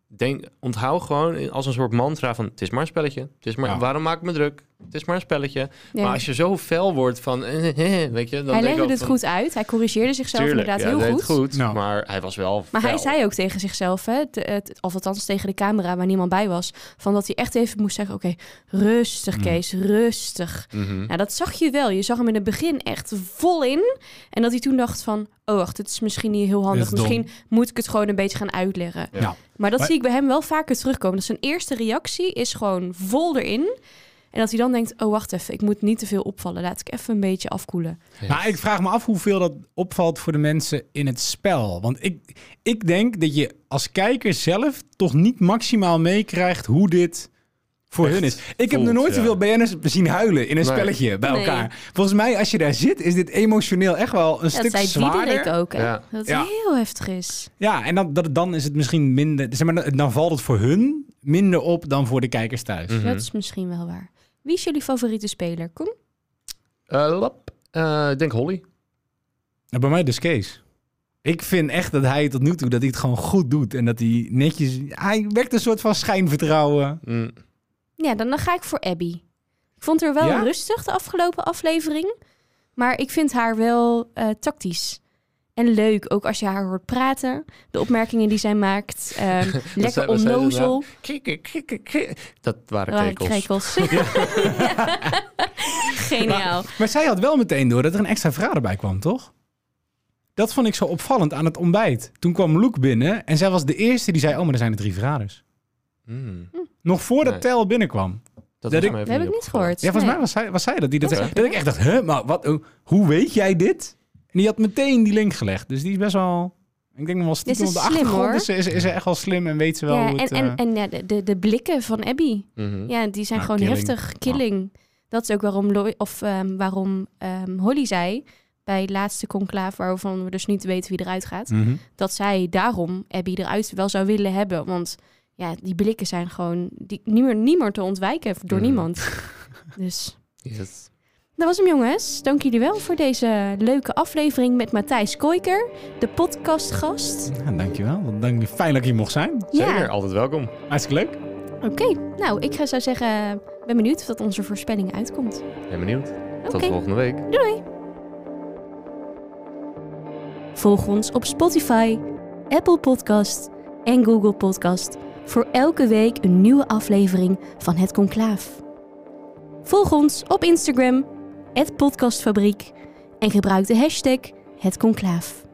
Speaker 3: denk, onthoud gewoon als een soort mantra van het is maar een spelletje. Het is maar,
Speaker 2: Ja.
Speaker 3: Waarom maak ik me druk? Het is maar een spelletje.
Speaker 1: Ja.
Speaker 3: Maar als je zo fel wordt van, eh, eh, weet je,
Speaker 1: hij
Speaker 3: dan denk ik
Speaker 1: legde
Speaker 3: ook
Speaker 1: het
Speaker 3: van,
Speaker 1: goed uit. Hij corrigeerde zichzelf
Speaker 3: tuurlijk, ja,
Speaker 1: inderdaad
Speaker 3: hij
Speaker 1: heel
Speaker 3: deed
Speaker 1: goed.
Speaker 3: het goed. Nou.
Speaker 2: Nou.
Speaker 3: Maar hij was wel
Speaker 1: Maar hij
Speaker 3: fel.
Speaker 1: zei ook tegen zichzelf, hè, te- het- of althans tegen de camera waar niemand bij was, van dat hij echt even moest zeggen, oké, rustig
Speaker 2: Mm.
Speaker 1: Kees, rustig.
Speaker 3: Mhm.
Speaker 1: Nou, dat zag je wel. Je zag hem in het begin echt vol in. En dat hij toen dacht van, oh wacht, het is misschien niet heel handig.
Speaker 2: Dit is dom.
Speaker 1: Misschien moet ik het gewoon een beetje gaan uitleggen.
Speaker 3: Ja.
Speaker 2: Ja.
Speaker 1: Maar dat
Speaker 2: Maar-
Speaker 1: zie ik bij hem wel vaker terugkomen. Dus zijn eerste reactie is gewoon vol erin. En dat hij dan denkt, oh wacht even, ik moet niet te veel opvallen. Laat ik even een beetje afkoelen.
Speaker 2: Maar ik vraag me af hoeveel dat opvalt voor de mensen in het spel. Want ik, ik denk dat je als kijker zelf toch niet maximaal meekrijgt hoe dit voor
Speaker 3: Echt
Speaker 2: hun is. Ik heb
Speaker 3: voelt,
Speaker 2: nog nooit
Speaker 3: ja.
Speaker 2: zoveel BN'ers zien huilen in een
Speaker 3: Nee.
Speaker 2: spelletje bij
Speaker 1: Nee.
Speaker 2: elkaar. Volgens mij, als je daar zit, is dit emotioneel echt wel een
Speaker 1: Ja, dat
Speaker 2: stuk
Speaker 1: zei Diederik
Speaker 2: zwaarder.
Speaker 1: ook, hè?
Speaker 3: Ja.
Speaker 1: Dat het
Speaker 2: Ja.
Speaker 1: heel heftig is.
Speaker 2: Ja, en dan, dat, dan is het misschien minder... Zeg maar, dan- dan valt het voor hun minder op dan voor de kijkers thuis.
Speaker 3: Mhm.
Speaker 1: Dat is misschien wel waar. Wie is jullie favoriete speler? Kom.
Speaker 3: Eh, lap. Eh, ik denk Holly.
Speaker 2: Nou, bij mij dus Kees. Ik vind echt dat hij tot nu toe dat hij het gewoon goed doet. En dat hij netjes... Hij wekt een soort van schijnvertrouwen.
Speaker 3: Mm.
Speaker 1: Ja, dan, dan ga ik voor Abby. Ik vond haar wel
Speaker 2: Ja?
Speaker 1: rustig de afgelopen aflevering. Maar ik vind haar wel eh, tactisch. En leuk, ook als je haar hoort praten. De opmerkingen die zij maakt. ehm, lekker
Speaker 3: zei- wat zei ze nou?
Speaker 1: onnozel.
Speaker 3: Krikke, krikke, krikke. Dat waren
Speaker 1: Waren
Speaker 3: krekels.
Speaker 1: krekels. Ja. Geniaal.
Speaker 2: Maar zij had wel meteen door dat er een extra vraag erbij kwam, toch? Dat vond ik zo opvallend aan het ontbijt. Toen kwam Luke binnen en zij was de eerste die zei... Oh, maar er zijn er drie verraders.
Speaker 3: Mm.
Speaker 2: Nog voordat
Speaker 3: Nee.
Speaker 2: Tel binnenkwam.
Speaker 3: Dat,
Speaker 2: Dat
Speaker 3: was
Speaker 2: ik-
Speaker 3: mij
Speaker 1: Dat
Speaker 3: even
Speaker 1: heb ik niet
Speaker 3: opgevallen.
Speaker 1: gehoord.
Speaker 2: Ja, volgens
Speaker 1: Nee.
Speaker 2: mij was zij, was zij dat. Die dat,
Speaker 1: Ja,
Speaker 2: zei.
Speaker 1: zeker.
Speaker 2: dat ik echt dacht, huh, maar wat, hoe- hoe weet jij dit? En die had meteen die link gelegd. Dus die is best wel... Ik denk nog wel stiekem
Speaker 1: is
Speaker 2: op de
Speaker 1: slim, hoor.
Speaker 2: achtergrond. Is, is, is ze echt wel slim en weet ze wel
Speaker 1: Ja,
Speaker 2: hoe
Speaker 1: en,
Speaker 2: het... eh,
Speaker 1: en, en ja, de- de, de blikken van Abby.
Speaker 3: Mhm.
Speaker 1: Ja, die zijn
Speaker 2: Nou,
Speaker 1: gewoon
Speaker 2: killing.
Speaker 1: heftig. Killing. Dat is ook waarom, Lo- of, ehm, waarom ehm, Holly zei bij het laatste conclaaf, waarvan we dus niet weten wie eruit gaat,
Speaker 2: Mhm.
Speaker 1: dat zij daarom Abby eruit wel zou willen hebben. Want ja, die blikken zijn gewoon die, niet, meer, niet meer te ontwijken door
Speaker 3: Mhm.
Speaker 1: niemand. Dus
Speaker 3: Yes.
Speaker 1: dat was hem jongens. Dank jullie wel voor deze leuke aflevering met Matthijs Koiker, de podcastgast.
Speaker 2: Ja, dankjewel. Dank, fijn dat ik hier mocht zijn.
Speaker 3: Mm, Zeker, altijd welkom.
Speaker 2: Hartstikke leuk.
Speaker 1: Oké, nou ik ga- zou zeggen, ben benieuwd of dat onze voorspelling uitkomt.
Speaker 3: Ben benieuwd.
Speaker 1: Oké.
Speaker 3: Tot volgende week.
Speaker 1: Doei! Volg ons op Spotify, Apple Podcast en Google Podcast voor elke week een nieuwe aflevering van Het Conclaaf. Volg ons op Instagram, het podcastfabriek en gebruik de hashtag Het Conclaaf.